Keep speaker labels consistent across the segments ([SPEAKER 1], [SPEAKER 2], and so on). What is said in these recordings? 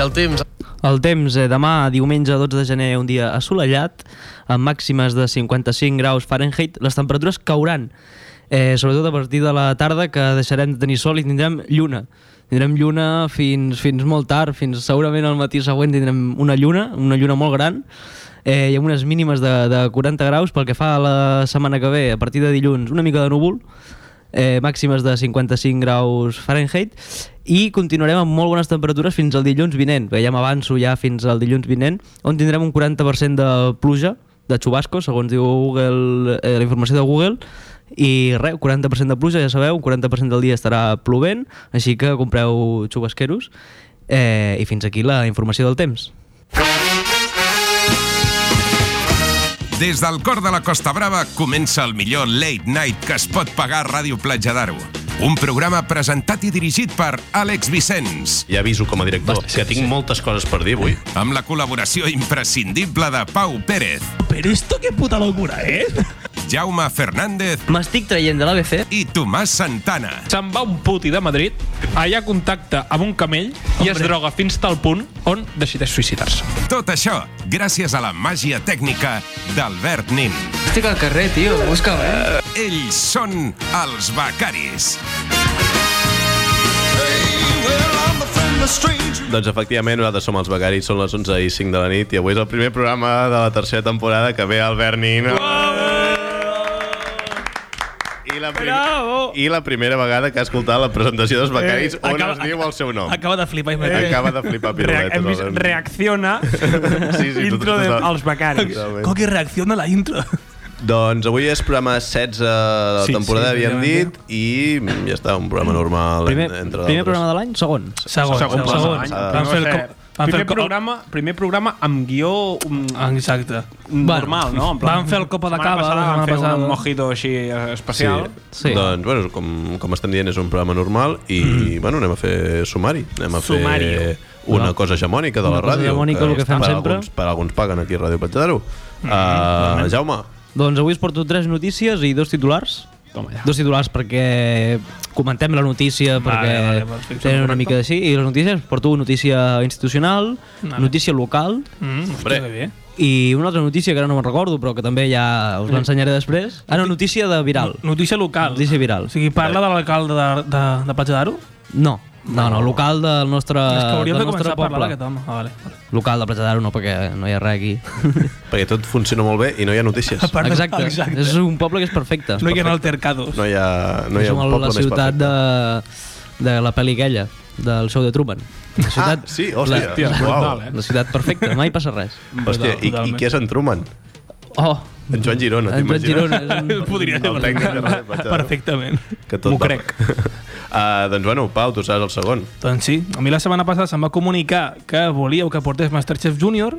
[SPEAKER 1] el temps?
[SPEAKER 2] El temps, eh, demà, diumenge 12 de gener, un dia assolellat, amb màximes de 55 graus Fahrenheit, les temperatures cauran, eh, sobretot a partir de la tarda, que deixarem de tenir sol i tindrem lluna. Tindrem lluna fins, fins molt tard, fins segurament al matí següent tindrem una lluna, una lluna molt gran, eh, i amb unes mínimes de, de 40 graus pel que fa a la setmana que ve, a partir de dilluns, una mica de núvol, eh, màximes de 55 graus Fahrenheit i continuarem amb molt bones temperatures fins al dilluns vinent, perquè ja m'avanço ja fins al dilluns vinent, on tindrem un 40% de pluja, de xubasco, segons diu Google, eh, la informació de Google, i res, 40% de pluja, ja sabeu, un 40% del dia estarà plovent, així que compreu xubasqueros. Eh, I fins aquí la informació del temps.
[SPEAKER 3] Des del cor de la Costa Brava comença el millor late night que es pot pagar a Ràdio Platja d'Aro. Un programa presentat i dirigit per Àlex Vicenç,
[SPEAKER 4] Ja aviso com a director
[SPEAKER 5] Bastant,
[SPEAKER 4] que tinc
[SPEAKER 5] sí.
[SPEAKER 4] moltes coses per dir avui.
[SPEAKER 3] amb la col·laboració imprescindible de Pau Pérez,
[SPEAKER 6] Pero esto qué puta locura eh? es.
[SPEAKER 3] Jaume Fernández
[SPEAKER 2] M'estic traient de l'ABC.
[SPEAKER 3] i Tomàs Santana.
[SPEAKER 5] Se'n va un puti de Madrid, allà contacta amb un camell i es droga fins tal punt on decideix suïcidar-se.
[SPEAKER 3] Tot això gràcies a la màgia tècnica d'Albert Nin.
[SPEAKER 1] Estic al carrer, tio, busca'm, eh?
[SPEAKER 3] Ells són els becaris.
[SPEAKER 4] Doncs efectivament nosaltres som els Becaris, són les 11 i 5 de la nit i avui és el primer programa de la tercera temporada que ve Albert Nina. I la, prim...
[SPEAKER 6] Bravo!
[SPEAKER 4] I la primera vegada que ha escoltat la presentació dels Becaris on
[SPEAKER 6] acaba-
[SPEAKER 4] es diu el seu nom.
[SPEAKER 6] Acaba de flipar i
[SPEAKER 4] Acaba Eh, de flipar piruletes. eh?
[SPEAKER 5] hem vist
[SPEAKER 4] Albert.
[SPEAKER 5] reacciona
[SPEAKER 4] Sí, sí,
[SPEAKER 5] intro
[SPEAKER 4] tot
[SPEAKER 5] de,
[SPEAKER 4] està-
[SPEAKER 5] als becaris.
[SPEAKER 4] Totalment.
[SPEAKER 6] Coqui reacciona a la intro.
[SPEAKER 4] Doncs avui és programa 16 de la
[SPEAKER 6] Sí,
[SPEAKER 4] temporada,
[SPEAKER 6] sí,
[SPEAKER 4] havíem
[SPEAKER 6] efectivament.
[SPEAKER 4] dit, i mm, ja està, un programa normal
[SPEAKER 2] Primer,
[SPEAKER 4] en- entre
[SPEAKER 2] primer
[SPEAKER 4] d'altres.
[SPEAKER 2] programa de l'any, segon.
[SPEAKER 6] Segon, segon.
[SPEAKER 4] pla,
[SPEAKER 6] segon.
[SPEAKER 4] segon.
[SPEAKER 6] Vam fer el
[SPEAKER 5] No sé,
[SPEAKER 6] com- vam fer
[SPEAKER 5] primer,
[SPEAKER 6] el com-
[SPEAKER 5] programa, primer programa amb guió um,
[SPEAKER 6] Ah, Exacte.
[SPEAKER 5] normal, no? En plan,
[SPEAKER 6] Vam fer el copa de
[SPEAKER 5] setmana
[SPEAKER 6] cava,
[SPEAKER 5] passada
[SPEAKER 6] la
[SPEAKER 5] vam
[SPEAKER 6] setmana
[SPEAKER 5] fer un
[SPEAKER 6] passada.
[SPEAKER 5] mojito així eh, especial.
[SPEAKER 2] Sí.
[SPEAKER 4] Doncs, bueno, com, com estem dient, és un programa normal i,
[SPEAKER 2] Mm.
[SPEAKER 4] bueno, anem a fer sumari. Anem a
[SPEAKER 5] Sumario.
[SPEAKER 4] fer una cosa hegemònica de
[SPEAKER 2] Una
[SPEAKER 4] la
[SPEAKER 2] cosa
[SPEAKER 4] ràdio.
[SPEAKER 2] hegemònica, el que fem
[SPEAKER 4] per
[SPEAKER 2] sempre. Mm,
[SPEAKER 4] Alguns, per alguns paguen aquí a Ràdio Petjadaro. Uh, Jaume,
[SPEAKER 2] Doncs avui us porto tres notícies i dos titulars.
[SPEAKER 5] Toma ja.
[SPEAKER 2] Dos titulars perquè comentem la notícia,
[SPEAKER 6] vale,
[SPEAKER 2] perquè
[SPEAKER 6] doncs fixem,
[SPEAKER 2] tenen una
[SPEAKER 6] correcte.
[SPEAKER 2] mica d'així. I les notícies, porto notícia institucional, notícia local
[SPEAKER 6] Mm, hòstia, que bé.
[SPEAKER 2] i una altra notícia que ara no me'n recordo, però que també ja us
[SPEAKER 6] Eh.
[SPEAKER 2] l'ensenyaré després. Ah, no, notícia de viral.
[SPEAKER 6] Notícia local.
[SPEAKER 2] Notícia viral.
[SPEAKER 6] O sigui, parla de l'alcalde de, de, de Platja d'Aro?
[SPEAKER 2] No, no, no, local del nostre,
[SPEAKER 6] És que hauríem
[SPEAKER 2] Eh, del
[SPEAKER 6] de començar
[SPEAKER 2] nostre
[SPEAKER 6] a
[SPEAKER 2] poble.
[SPEAKER 6] parlar d'aquest home. Ah, vale.
[SPEAKER 2] Local de Platja d'Aro, no, perquè no hi ha res aquí.
[SPEAKER 4] perquè tot funciona molt bé i no hi ha notícies.
[SPEAKER 6] Part-
[SPEAKER 2] Exacte.
[SPEAKER 6] Exacte.
[SPEAKER 2] és un poble que és perfecte.
[SPEAKER 6] No hi ha altercados.
[SPEAKER 4] No hi ha, no hi
[SPEAKER 2] és
[SPEAKER 4] ha un
[SPEAKER 2] com la
[SPEAKER 4] poble més
[SPEAKER 2] ciutat
[SPEAKER 4] perfecte.
[SPEAKER 2] de, de la pel·li aquella, del show de Truman. La ciutat,
[SPEAKER 4] Ah, sí, hòstia,
[SPEAKER 2] la,
[SPEAKER 4] hòstia,
[SPEAKER 2] la,
[SPEAKER 4] brutal,
[SPEAKER 2] la,
[SPEAKER 4] eh?
[SPEAKER 2] ciutat perfecta, mai passa res.
[SPEAKER 4] Hòstia, i, i qui és en Truman?
[SPEAKER 2] Oh,
[SPEAKER 4] En Joan Girona,
[SPEAKER 2] en Prat
[SPEAKER 4] t'imagines?
[SPEAKER 2] Girona és un...
[SPEAKER 6] Podria ser
[SPEAKER 4] El tècnic de Ràdio
[SPEAKER 6] perfecte.
[SPEAKER 4] Platja.
[SPEAKER 6] perfectament.
[SPEAKER 4] Que tot
[SPEAKER 6] M'ho
[SPEAKER 4] va-
[SPEAKER 6] crec.
[SPEAKER 4] Ah, doncs bueno, Pau, tu saps el segon.
[SPEAKER 6] Doncs sí, a mi la setmana passada se'm va comunicar que volíeu que portés Masterchef Junior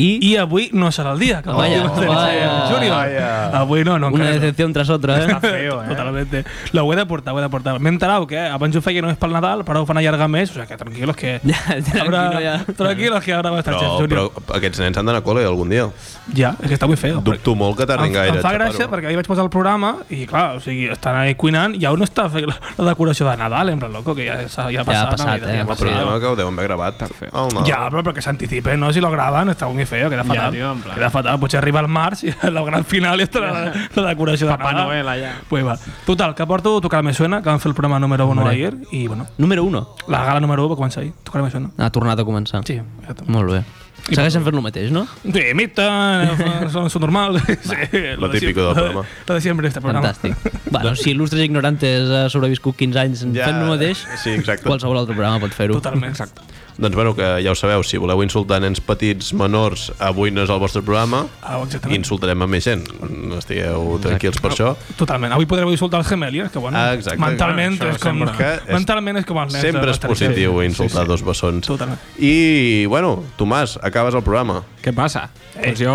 [SPEAKER 2] I,
[SPEAKER 6] i avui no serà el dia que
[SPEAKER 2] Oh,
[SPEAKER 6] porti
[SPEAKER 2] vaya,
[SPEAKER 6] Masterchef
[SPEAKER 2] vaya.
[SPEAKER 6] Junior.
[SPEAKER 4] Vaya.
[SPEAKER 6] Avui no, no.
[SPEAKER 2] una
[SPEAKER 6] encara no.
[SPEAKER 2] decepció tras otra,
[SPEAKER 6] Està
[SPEAKER 2] eh?
[SPEAKER 6] feo, eh? Totalmente. Lo he de portar, ho he de portar. M'he enterat que abans ho feia només pel Nadal, però ho fan allargar més, o sigui que tranquilos que...
[SPEAKER 2] Ja, ja, aquí no hi ha-
[SPEAKER 6] Tranquilos que haurà bastant
[SPEAKER 4] Però, però aquests nens han d'anar a col·le algun dia.
[SPEAKER 6] Ja, és que està muy feo.
[SPEAKER 4] Dubto molt que tardin
[SPEAKER 6] Em,
[SPEAKER 4] gaire.
[SPEAKER 6] em fa
[SPEAKER 4] a
[SPEAKER 6] gràcia
[SPEAKER 4] xapar-ho.
[SPEAKER 6] perquè ahir vaig posar el programa i, clar, o sigui, estan ahí cuinant i aún no està fent la, la decoració de Nadal, en plan, loco, que ja, s'ha- ja ha passat.
[SPEAKER 2] passat,
[SPEAKER 6] Navidad,
[SPEAKER 2] eh,
[SPEAKER 6] ja ha
[SPEAKER 2] home,
[SPEAKER 4] Però
[SPEAKER 6] passat.
[SPEAKER 4] no, que ho deuen haver gravat. Oh, no.
[SPEAKER 6] Ja, però perquè s'anticipen, no? Si lo graven, està muy feo, queda fatal.
[SPEAKER 5] tio, en plan.
[SPEAKER 6] Queda fatal, pues potser arriba al març i la gran final i estarà la, la decoració de
[SPEAKER 5] Papà
[SPEAKER 6] Nadal.
[SPEAKER 5] Noel allà.
[SPEAKER 6] Pues va. Total, que porto Tocar Me Suena, que vam fer el programa número 1 ayer, i bueno,
[SPEAKER 2] Número 1.
[SPEAKER 6] la gala número 1 va començar ahir, Tocar Me Suena.
[SPEAKER 2] Ha tornat a començar.
[SPEAKER 6] Sí, exacte.
[SPEAKER 2] Molt bé. Segueixen fent el mateix, no?
[SPEAKER 6] Sí, imiten, eh, són, són normal. Sí,
[SPEAKER 4] lo típico del programa.
[SPEAKER 6] Lo de siempre, este programa.
[SPEAKER 2] Fantàstic. bueno, si il·lustres ignorantes ha sobreviscut 15 anys
[SPEAKER 4] Ja,
[SPEAKER 2] fent el mateix,
[SPEAKER 4] sí, exacte.
[SPEAKER 2] qualsevol altre programa pot fer-ho.
[SPEAKER 6] Totalment. Exacte.
[SPEAKER 4] Doncs bueno, que ja ho sabeu, si voleu insultar nens petits, menors, avui no és el vostre programa,
[SPEAKER 6] Ah, exactament.
[SPEAKER 4] insultarem a més gent. No estigueu tranquils per això.
[SPEAKER 6] Totalment. Avui podreu insultar els gemeliers, que bueno,
[SPEAKER 4] Ah, exacte.
[SPEAKER 6] mentalment,
[SPEAKER 5] Bueno, això
[SPEAKER 6] és com,
[SPEAKER 5] sempre-
[SPEAKER 4] Que és-
[SPEAKER 6] mentalment és com els nens. de
[SPEAKER 4] Sempre és
[SPEAKER 6] Masterchef.
[SPEAKER 4] positiu insultar dos bessons.
[SPEAKER 6] Totalment.
[SPEAKER 4] I, bueno, Tomàs, acabes el programa.
[SPEAKER 5] Què passa?
[SPEAKER 6] Eh.
[SPEAKER 5] Doncs jo...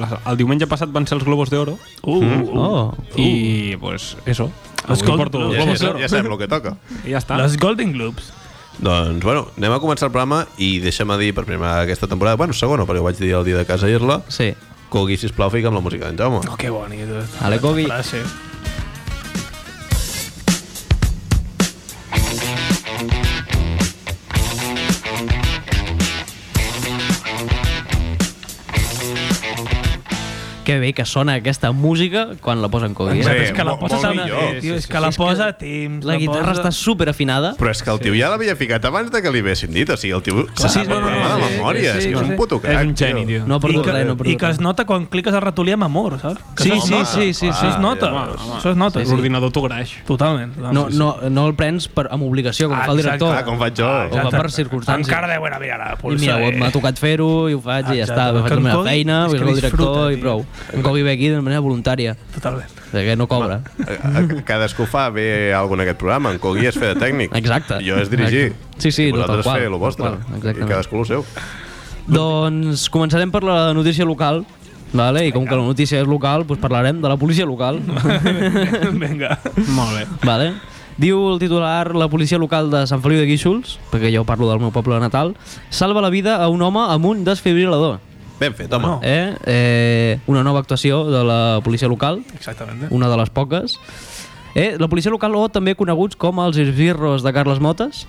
[SPEAKER 5] la- El diumenge passat van ser els Globos d'Oro
[SPEAKER 6] Uh, uh,
[SPEAKER 2] Oh,
[SPEAKER 5] i, pues, eso.
[SPEAKER 6] Escolta,
[SPEAKER 5] Avui
[SPEAKER 6] ja-
[SPEAKER 5] porto els
[SPEAKER 4] Ja,
[SPEAKER 5] Globos
[SPEAKER 4] ja,
[SPEAKER 5] d'Oro.
[SPEAKER 4] ja sabem el que toca.
[SPEAKER 5] I ja
[SPEAKER 6] uh.
[SPEAKER 5] està.
[SPEAKER 6] Les Golden Globes.
[SPEAKER 4] Doncs, bueno, anem a començar el programa i deixa'm dir per primera vegada aquesta temporada, bueno, segona, perquè ho vaig dir el dia de casa ir-la,
[SPEAKER 2] sí.
[SPEAKER 4] Cogui, sisplau, fica'm la música d'en Jaume.
[SPEAKER 6] Oh, que bonic.
[SPEAKER 2] Ale, Coqui.
[SPEAKER 6] Frase.
[SPEAKER 2] que bé que sona aquesta música quan la posen Cogui.
[SPEAKER 4] Exacte.
[SPEAKER 2] Eh?
[SPEAKER 6] és que la
[SPEAKER 4] molt-
[SPEAKER 6] posa
[SPEAKER 4] molt
[SPEAKER 6] tan...
[SPEAKER 4] millor.
[SPEAKER 6] Tio, és
[SPEAKER 5] Sí,
[SPEAKER 6] que la posa a temps.
[SPEAKER 2] La guitarra està super afinada.
[SPEAKER 4] Però és que el tio ja l'havia ficat abans de que li haguessin dit. O sigui, el tio se sap el
[SPEAKER 6] no, no,
[SPEAKER 4] programa
[SPEAKER 6] sí,
[SPEAKER 4] de memòria.
[SPEAKER 6] sí,
[SPEAKER 4] és que és
[SPEAKER 6] sí.
[SPEAKER 4] un puto crac.
[SPEAKER 5] És un geni, tio.
[SPEAKER 2] No ha
[SPEAKER 6] I
[SPEAKER 2] perdut
[SPEAKER 6] que,
[SPEAKER 2] res, no ha
[SPEAKER 6] I
[SPEAKER 2] perdut
[SPEAKER 6] que es
[SPEAKER 2] res.
[SPEAKER 6] nota quan cliques el ratolí amb amor, saps? Que Ah,
[SPEAKER 2] Sí,
[SPEAKER 6] això-
[SPEAKER 2] sí, sí, sí,
[SPEAKER 6] Això es
[SPEAKER 2] sí.
[SPEAKER 6] nota.
[SPEAKER 4] Home, home.
[SPEAKER 6] Això es nota.
[SPEAKER 5] L'ordinador t'ho graeix.
[SPEAKER 6] Totalment. doncs,
[SPEAKER 2] No, no, no el prens per, amb obligació, com
[SPEAKER 6] Ah,
[SPEAKER 2] fa el director.
[SPEAKER 4] Clar, com faig jo.
[SPEAKER 2] O va per circumstàncies.
[SPEAKER 6] Encara deuen haver ara
[SPEAKER 2] I
[SPEAKER 6] pulsa.
[SPEAKER 2] mira, m'ha tocat fer-ho i ho faig i ja
[SPEAKER 6] eh. Exacte.
[SPEAKER 2] està. He fet
[SPEAKER 6] Que
[SPEAKER 2] la
[SPEAKER 6] en
[SPEAKER 2] meva
[SPEAKER 6] Cogui
[SPEAKER 2] feina,
[SPEAKER 6] és
[SPEAKER 2] vull
[SPEAKER 6] que
[SPEAKER 2] el director
[SPEAKER 6] disfruta,
[SPEAKER 2] i
[SPEAKER 6] tio.
[SPEAKER 2] prou. En Cogui ve aquí de manera voluntària,
[SPEAKER 6] Totalment.
[SPEAKER 2] que no cobra.
[SPEAKER 4] A- a- Cadascú fa bé alguna en aquest programa. En Cogui és fer de tècnic.
[SPEAKER 2] Exacte.
[SPEAKER 4] Jo és dirigir.
[SPEAKER 2] Exacte. Sí, sí,
[SPEAKER 4] I
[SPEAKER 2] no, tal
[SPEAKER 4] vosaltres
[SPEAKER 2] qual,
[SPEAKER 4] fer
[SPEAKER 2] tal
[SPEAKER 4] el vostre.
[SPEAKER 2] qual,
[SPEAKER 4] I
[SPEAKER 2] exactament.
[SPEAKER 4] cadascú el seu.
[SPEAKER 2] Doncs començarem per la notícia local. Vale? I com que la notícia és local, doncs parlarem de la policia local.
[SPEAKER 6] Vinga.
[SPEAKER 5] Molt bé.
[SPEAKER 2] Vale. Diu el titular, la policia local de Sant Feliu de Guíxols, perquè jo parlo del meu poble natal, salva la vida a un home amb un desfibrilador.
[SPEAKER 4] Ben fet, home.
[SPEAKER 6] No.
[SPEAKER 2] Eh? Eh, una nova actuació de la policia local,
[SPEAKER 6] Exactament.
[SPEAKER 2] una de les poques. Eh, la policia local, o també coneguts com els esbirros de Carles Motes,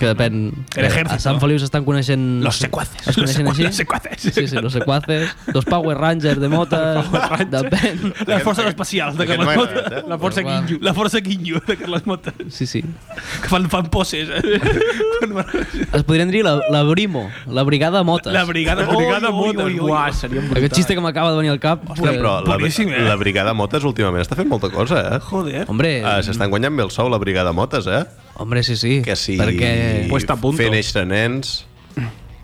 [SPEAKER 2] que depèn...
[SPEAKER 6] El
[SPEAKER 2] eh,
[SPEAKER 6] ejército.
[SPEAKER 2] a Sant Feliu s'estan coneixent...
[SPEAKER 6] Los secuaces.
[SPEAKER 2] Es coneixen
[SPEAKER 6] Los secua-
[SPEAKER 2] així?
[SPEAKER 6] los secuaces.
[SPEAKER 2] Sí, sí, los secuaces. Dos Power Rangers de
[SPEAKER 6] Eh,
[SPEAKER 2] Motes. depèn.
[SPEAKER 6] Les forces especials de
[SPEAKER 4] aquest
[SPEAKER 6] Carles
[SPEAKER 4] no m'ha
[SPEAKER 6] Mota.
[SPEAKER 4] agradat, eh?
[SPEAKER 6] La força
[SPEAKER 2] Però va.
[SPEAKER 6] guinyo. La força guinyo de Carles Mota.
[SPEAKER 2] Sí, sí.
[SPEAKER 6] Que fan, fan poses. eh? Quan mar-
[SPEAKER 2] Es podrien dir la, la Brimo, la Brigada Motes.
[SPEAKER 6] La brigada,
[SPEAKER 5] La brigada
[SPEAKER 6] Ui, ui,
[SPEAKER 5] Motes.
[SPEAKER 6] ui, ui.
[SPEAKER 5] Uah, seria un
[SPEAKER 2] Aquest xiste que m'acaba de venir al cap...
[SPEAKER 4] Hòstia,
[SPEAKER 2] eh,
[SPEAKER 4] però la,
[SPEAKER 6] boníssim, eh?
[SPEAKER 4] la Brigada Motes últimament està fent molta cosa, eh?
[SPEAKER 6] Joder.
[SPEAKER 2] Hombre,
[SPEAKER 4] Ah, S'estan guanyant bé el sou, la Brigada Motes, eh?
[SPEAKER 2] hombre, sí, sí.
[SPEAKER 4] Que si
[SPEAKER 2] Perquè...
[SPEAKER 5] Puesta a punto.
[SPEAKER 4] fer néixer nens...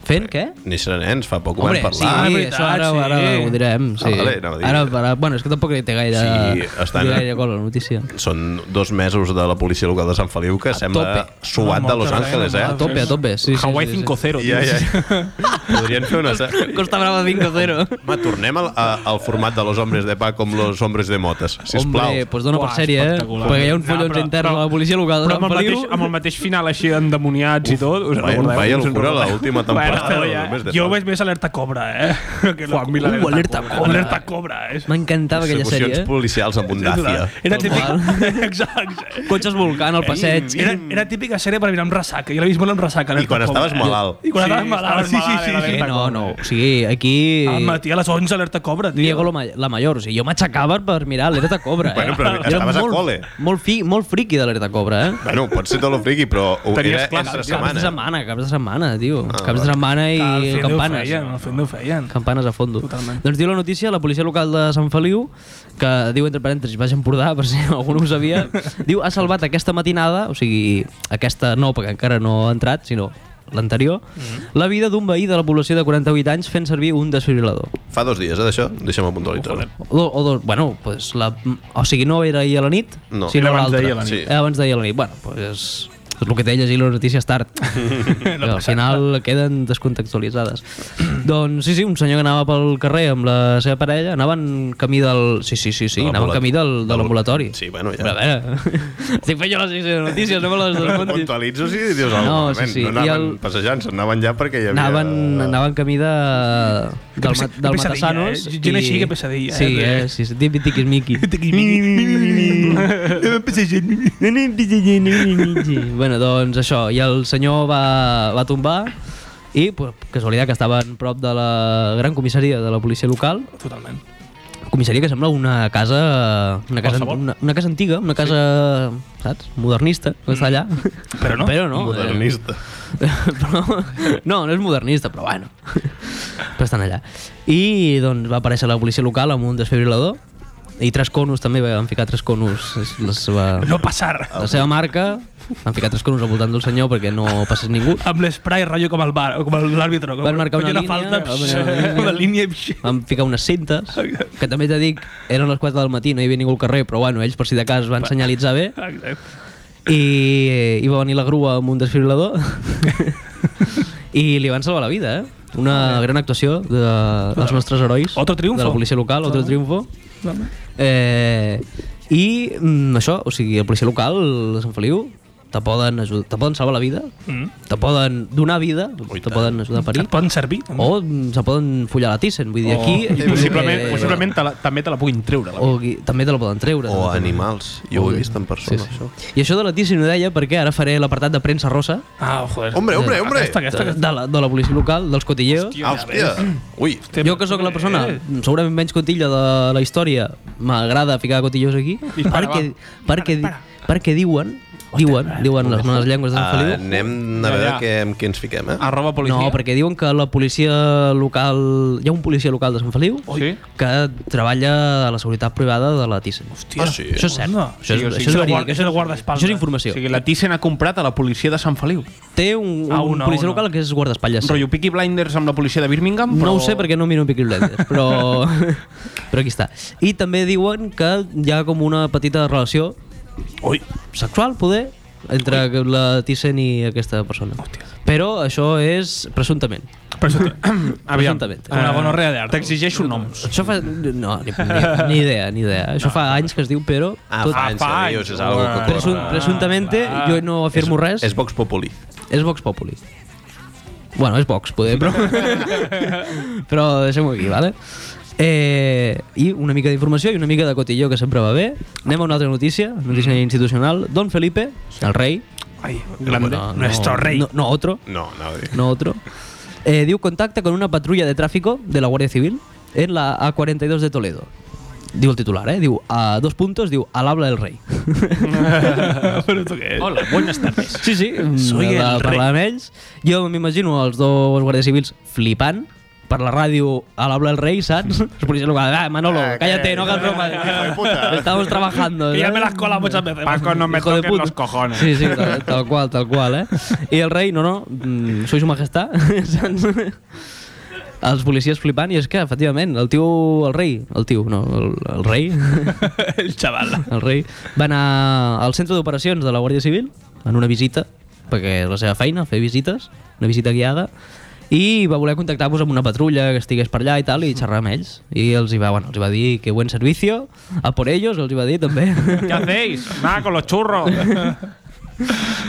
[SPEAKER 2] Fent què?
[SPEAKER 4] Néixer nens, fa poc ho
[SPEAKER 2] Hombre,
[SPEAKER 4] vam
[SPEAKER 2] sí,
[SPEAKER 5] Ah,
[SPEAKER 4] parlar.
[SPEAKER 6] veritat,
[SPEAKER 2] això ara,
[SPEAKER 6] sí.
[SPEAKER 2] ara ho direm. Sí.
[SPEAKER 4] Ah, vale, anava a dir.
[SPEAKER 2] ara, ara, bueno, és que tampoc hi té gaire,
[SPEAKER 4] Sí,
[SPEAKER 2] estan...
[SPEAKER 4] estan-
[SPEAKER 2] gaire col, la notícia.
[SPEAKER 4] Són dos mesos de la policia local de Sant Feliu que sembla
[SPEAKER 2] tope.
[SPEAKER 4] suat de Los
[SPEAKER 6] Molta
[SPEAKER 4] Angeles, eh?
[SPEAKER 6] feina,
[SPEAKER 2] A tope, a tope. Sí, sí,
[SPEAKER 5] Hawaii
[SPEAKER 2] sí, sí.
[SPEAKER 5] 5-0, tio.
[SPEAKER 4] Ja, ja. Podrien fer una...
[SPEAKER 2] Costa Brava 5-0.
[SPEAKER 4] Home, tornem al, a, al format de los hombres de pa com los hombres de motes, sisplau.
[SPEAKER 2] Hombre, doncs dona per
[SPEAKER 5] Uah,
[SPEAKER 2] sèrie, eh?
[SPEAKER 5] espectacular.
[SPEAKER 2] Perquè hi ha un
[SPEAKER 5] No,
[SPEAKER 2] follons
[SPEAKER 5] però-
[SPEAKER 2] intern a la policia local de
[SPEAKER 5] Però amb
[SPEAKER 2] Sant
[SPEAKER 5] el, mateix,
[SPEAKER 2] Feliu.
[SPEAKER 5] amb el mateix final així endemoniats i tot, us en
[SPEAKER 4] Vaya,
[SPEAKER 5] recordeu?
[SPEAKER 4] vaya
[SPEAKER 5] Us en
[SPEAKER 4] locura
[SPEAKER 5] recordeu?
[SPEAKER 4] l'última temporada.
[SPEAKER 5] Bueno,
[SPEAKER 4] del
[SPEAKER 5] ja.
[SPEAKER 4] Hombres de
[SPEAKER 6] Jo
[SPEAKER 4] Pa.
[SPEAKER 6] veig més alerta cobra, eh? Que
[SPEAKER 5] Juan Mil
[SPEAKER 6] locura.
[SPEAKER 5] Alerta
[SPEAKER 2] Uh, alerta
[SPEAKER 5] Cobra.
[SPEAKER 2] cobra.
[SPEAKER 6] Alerta cobra, és.
[SPEAKER 2] M'encantava aquella
[SPEAKER 4] Persecucions
[SPEAKER 2] sèrie, eh?
[SPEAKER 4] policials amb abundància.
[SPEAKER 6] Era
[SPEAKER 2] Tot
[SPEAKER 6] típic...
[SPEAKER 2] mal.
[SPEAKER 6] Exacte.
[SPEAKER 2] Cotxes volcant al passeig.
[SPEAKER 6] Era, era típica sèrie per mirar amb ressaca. Jo l'he vist molt amb ressaca.
[SPEAKER 4] I quan
[SPEAKER 6] Alerta Cobra.
[SPEAKER 4] estaves malalt.
[SPEAKER 6] I quan
[SPEAKER 5] Sí,
[SPEAKER 6] estaves malalt,
[SPEAKER 5] estaves
[SPEAKER 6] sí, sí,
[SPEAKER 5] malalt,
[SPEAKER 6] sí.
[SPEAKER 5] era
[SPEAKER 6] sí.
[SPEAKER 2] Eh, no, no, o sigui, aquí...
[SPEAKER 6] Al matí a les 11 alerta cobra, tio.
[SPEAKER 2] Diego lo ma- la Mayor, o sigui, jo m'aixecava per mirar l'alerta cobra, eh?
[SPEAKER 4] Bueno, però
[SPEAKER 2] Jo
[SPEAKER 4] estaves a
[SPEAKER 2] molt,
[SPEAKER 4] cole.
[SPEAKER 2] Molt, fi, molt friqui de l'alerta cobra, eh?
[SPEAKER 4] Bueno, pot ser tot lo friqui, però ho
[SPEAKER 5] Tenies
[SPEAKER 4] era
[SPEAKER 5] clar,
[SPEAKER 4] entre
[SPEAKER 2] Caps
[SPEAKER 5] caps
[SPEAKER 2] de
[SPEAKER 4] setmana. eh?
[SPEAKER 2] setmana, caps de setmana, tio. caps de setmana i
[SPEAKER 6] Al fin
[SPEAKER 2] campanes.
[SPEAKER 6] Ho feien, al fin ho feien.
[SPEAKER 2] Campanes a fondo.
[SPEAKER 6] Totalment.
[SPEAKER 2] Doncs diu la notícia, la policia local de Sant Feliu, que diu entre parèntesis, vaig a Empordà, per si algú no ho sabia, diu, ha salvat aquesta matinada, o sigui, aquesta no, perquè encara no ha entrat, sinó l'anterior,
[SPEAKER 6] Mm-hmm.
[SPEAKER 2] la vida d'un veí de la població de 48 anys fent servir un desfibrilador.
[SPEAKER 4] Fa dos dies, eh, d'això? Deixa'm puntualitzar.
[SPEAKER 2] O, do- o dos, bueno, pues la, o sigui, no era ahir a la nit,
[SPEAKER 4] No.
[SPEAKER 2] sinó
[SPEAKER 5] Era abans
[SPEAKER 2] l'altra.
[SPEAKER 5] d'ahir a la
[SPEAKER 4] nit. Sí.
[SPEAKER 2] Era abans d'ahir a la nit. Bueno, pues és, és el que té llegir les notícies tard. no al final queden descontextualitzades. doncs sí, sí, un senyor que anava pel carrer amb la seva parella, anaven camí del... Sí, sí, sí, sí,
[SPEAKER 4] De
[SPEAKER 2] anaven
[SPEAKER 4] l'ambulat-
[SPEAKER 2] camí del, de
[SPEAKER 4] del-
[SPEAKER 2] l'ambulatori.
[SPEAKER 4] Sí, bueno, ja.
[SPEAKER 2] Però, a veure, estic fent jo les notícies, no me les desmuntis.
[SPEAKER 4] Puntualitzo si dius alguna
[SPEAKER 2] No,
[SPEAKER 4] cosa.
[SPEAKER 2] sí, sí.
[SPEAKER 4] No
[SPEAKER 2] I
[SPEAKER 4] anaven
[SPEAKER 2] el-
[SPEAKER 4] passejant, anaven ja perquè hi havia...
[SPEAKER 2] Anaven, anaven camí de, del,
[SPEAKER 6] pesa-
[SPEAKER 2] ma-
[SPEAKER 6] que
[SPEAKER 2] del
[SPEAKER 6] pesadilla,
[SPEAKER 2] Matasanos.
[SPEAKER 6] eh? Gent així, que pesadilla, eh?
[SPEAKER 2] Sí, eh? Sí, sí, típic tiquismiqui. bueno, doncs això, i el senyor va, va tombar i, pues, casualitat, que estaven prop de la gran comissaria de la policia local,
[SPEAKER 6] Totalment.
[SPEAKER 2] comissaria que sembla una casa una casa,
[SPEAKER 5] Qualsevol.
[SPEAKER 2] una, una casa antiga, una casa, saps, modernista, que està allà.
[SPEAKER 6] Mm. Però no.
[SPEAKER 2] Però no. eh,
[SPEAKER 4] Modernista.
[SPEAKER 2] però, no, no és modernista, però bueno. Però estan allà. I doncs va aparèixer la policia local amb un desfibrilador i tres conos també, van ficar tres conos és la seva,
[SPEAKER 6] No passar.
[SPEAKER 2] la seva marca van ficar tres conos al voltant del senyor perquè no passés ningú
[SPEAKER 6] Amb l'espray rotllo com el bar, com l'àrbitre. com-
[SPEAKER 2] Van marcar
[SPEAKER 6] coño,
[SPEAKER 2] una
[SPEAKER 6] falta,
[SPEAKER 2] línia, van marcar una
[SPEAKER 6] una línia.
[SPEAKER 2] van ficar unes cintes que també t'he dic, eren les 4 del matí no hi havia ningú al carrer, però bueno, ells per si de cas van senyalitzar bé i, i va venir la grua amb un desfibrilador i li van salvar la vida, eh? Una gran actuació de, dels nostres herois.
[SPEAKER 6] Otro triunfo.
[SPEAKER 2] De la policia local, otro triunfo.
[SPEAKER 6] Totalment.
[SPEAKER 2] Eh, I mm, això, o sigui, la policia local de Sant Feliu te poden, ajudar, te poden salvar la vida, mm. te poden donar vida, Ui, te poden ajudar a parir,
[SPEAKER 6] Et poden servir? també?
[SPEAKER 2] o mm, se poden follar la Thyssen. Vull dir, aquí...
[SPEAKER 5] I Oh. possiblement,
[SPEAKER 2] eh,
[SPEAKER 5] possiblement te la, també te la puguin treure. La
[SPEAKER 2] O qui- també te la poden treure.
[SPEAKER 4] O
[SPEAKER 2] també.
[SPEAKER 4] animals. Jo ho he vist en persona, sí, sí. això.
[SPEAKER 2] I això de la Thyssen ho deia perquè ara faré l'apartat de premsa rosa
[SPEAKER 6] Ah, joder.
[SPEAKER 4] Hombre, hombre, hombre!
[SPEAKER 6] Aquesta, aquesta,
[SPEAKER 2] de,
[SPEAKER 6] aquesta.
[SPEAKER 2] de, la, de la policia local, dels cotilleos.
[SPEAKER 4] Ah, hòstia! Ui,
[SPEAKER 2] Jo que sóc la persona
[SPEAKER 6] Eh,
[SPEAKER 2] segurament menys cotilla de la història, m'agrada ficar cotillos aquí,
[SPEAKER 6] Dispara,
[SPEAKER 2] perquè,
[SPEAKER 6] va.
[SPEAKER 2] perquè,
[SPEAKER 6] Dispara,
[SPEAKER 2] di- perquè diuen, diuen, diuen les males llengües de Sant
[SPEAKER 4] ah,
[SPEAKER 2] Feliu,
[SPEAKER 4] anem a
[SPEAKER 5] Ja, Ah,
[SPEAKER 4] veure
[SPEAKER 5] ja.
[SPEAKER 4] què, amb qui ens fiquem, eh?
[SPEAKER 5] Arroba policia.
[SPEAKER 2] no, perquè diuen que la policia local, hi ha un policia local de Sant Feliu
[SPEAKER 5] Sí?
[SPEAKER 2] que treballa a la seguretat privada de la Thyssen.
[SPEAKER 6] Hòstia.
[SPEAKER 4] Ah, sí?
[SPEAKER 2] Això és cert.
[SPEAKER 6] Onda.
[SPEAKER 2] Això és,
[SPEAKER 5] Sí, o sigui,
[SPEAKER 2] això és,
[SPEAKER 6] és el
[SPEAKER 2] verídic,
[SPEAKER 6] guarda-
[SPEAKER 2] això
[SPEAKER 6] és el
[SPEAKER 2] és,
[SPEAKER 6] guardaespatlles.
[SPEAKER 2] això és
[SPEAKER 5] O
[SPEAKER 2] informació.
[SPEAKER 5] sigui, la Thyssen ha comprat a la policia de Sant Feliu.
[SPEAKER 2] Té un, un
[SPEAKER 6] Ah, una,
[SPEAKER 2] policia
[SPEAKER 6] una.
[SPEAKER 2] local que és guardaespatlles.
[SPEAKER 5] Sí.
[SPEAKER 2] sí.
[SPEAKER 5] Rollo Peaky Blinders amb la policia de Birmingham, però...
[SPEAKER 2] No ho sé perquè no miro Peaky Blinders, però, però aquí està. I també diuen que hi ha com una petita relació
[SPEAKER 6] Ui.
[SPEAKER 2] sexual, poder, entre Ui. la Thyssen i aquesta persona. Hòstia. Però això és presumptament.
[SPEAKER 6] Per això té-
[SPEAKER 5] Aviam,
[SPEAKER 2] Presumptament.
[SPEAKER 5] eh,
[SPEAKER 6] Una gonorrea de arte.
[SPEAKER 5] T'exigeixo noms.
[SPEAKER 2] Això fa... No, ni, ni, ni idea, ni idea. Això no, fa anys que es diu, però...
[SPEAKER 4] Ah, fa anys,
[SPEAKER 6] fa
[SPEAKER 4] dius, és
[SPEAKER 6] anys.
[SPEAKER 4] algo que
[SPEAKER 2] Presun,
[SPEAKER 4] corre.
[SPEAKER 2] presumptamente,
[SPEAKER 6] Ah.
[SPEAKER 2] jo no afirmo res,
[SPEAKER 4] És Vox Populi.
[SPEAKER 2] és Vox Populi. Bueno, és Vox, poder, però... però deixem-ho aquí, vale? Eh, I una mica d'informació i una mica de cotilló, que sempre va bé. Anem a una altra notícia, notícia institucional. Don Felipe, el rei...
[SPEAKER 6] Ai,
[SPEAKER 2] Grande.
[SPEAKER 6] Nuestro rei.
[SPEAKER 2] No, no otro,
[SPEAKER 4] No, no,
[SPEAKER 2] no otro. Eh, diu contacta con una patrulla de tráfico de la Guardia Civil en la A42 de Toledo. Diu el titular, eh? Diu, a dos puntos, diu, al habla del rei.
[SPEAKER 6] Però tu què?
[SPEAKER 5] Hola, buenas tardes.
[SPEAKER 2] Sí, mm, sí,
[SPEAKER 5] Soy
[SPEAKER 2] de
[SPEAKER 5] el
[SPEAKER 2] parlar amb ells. Jo m'imagino els dos guàrdies civils flipant per la ràdio a l'habla del rei, saps? Els policies locals, ah, Manolo, cállate, no hagas bromas. Estamos trabajando.
[SPEAKER 6] Que ya me
[SPEAKER 2] ¿sabes?
[SPEAKER 6] las cola muchas veces.
[SPEAKER 5] Paco, no me
[SPEAKER 2] Hijo de
[SPEAKER 5] toques
[SPEAKER 2] puta.
[SPEAKER 5] los cojones.
[SPEAKER 2] Sí, sí, tal, tal cual, tal cual, eh? I el rei, no, no, mm, soy su majestà, saps? Els policies flipant, i és que, efectivament, el tio, el rei, el tio, no, el, el rei,
[SPEAKER 6] El chaval.
[SPEAKER 2] el rei, va anar al centre d'operacions de la Guàrdia Civil en una visita, perquè és la seva feina, fer visites, una visita guiada, i va voler contactar-vos amb una patrulla que estigués per allà i tal, i xerrar amb ells. I els hi va, bueno, els hi va dir que buen servicio, a por ellos, els hi va dir també.
[SPEAKER 5] ¿Qué hacéis? Nada, con los churros.
[SPEAKER 2] Els hi va dir,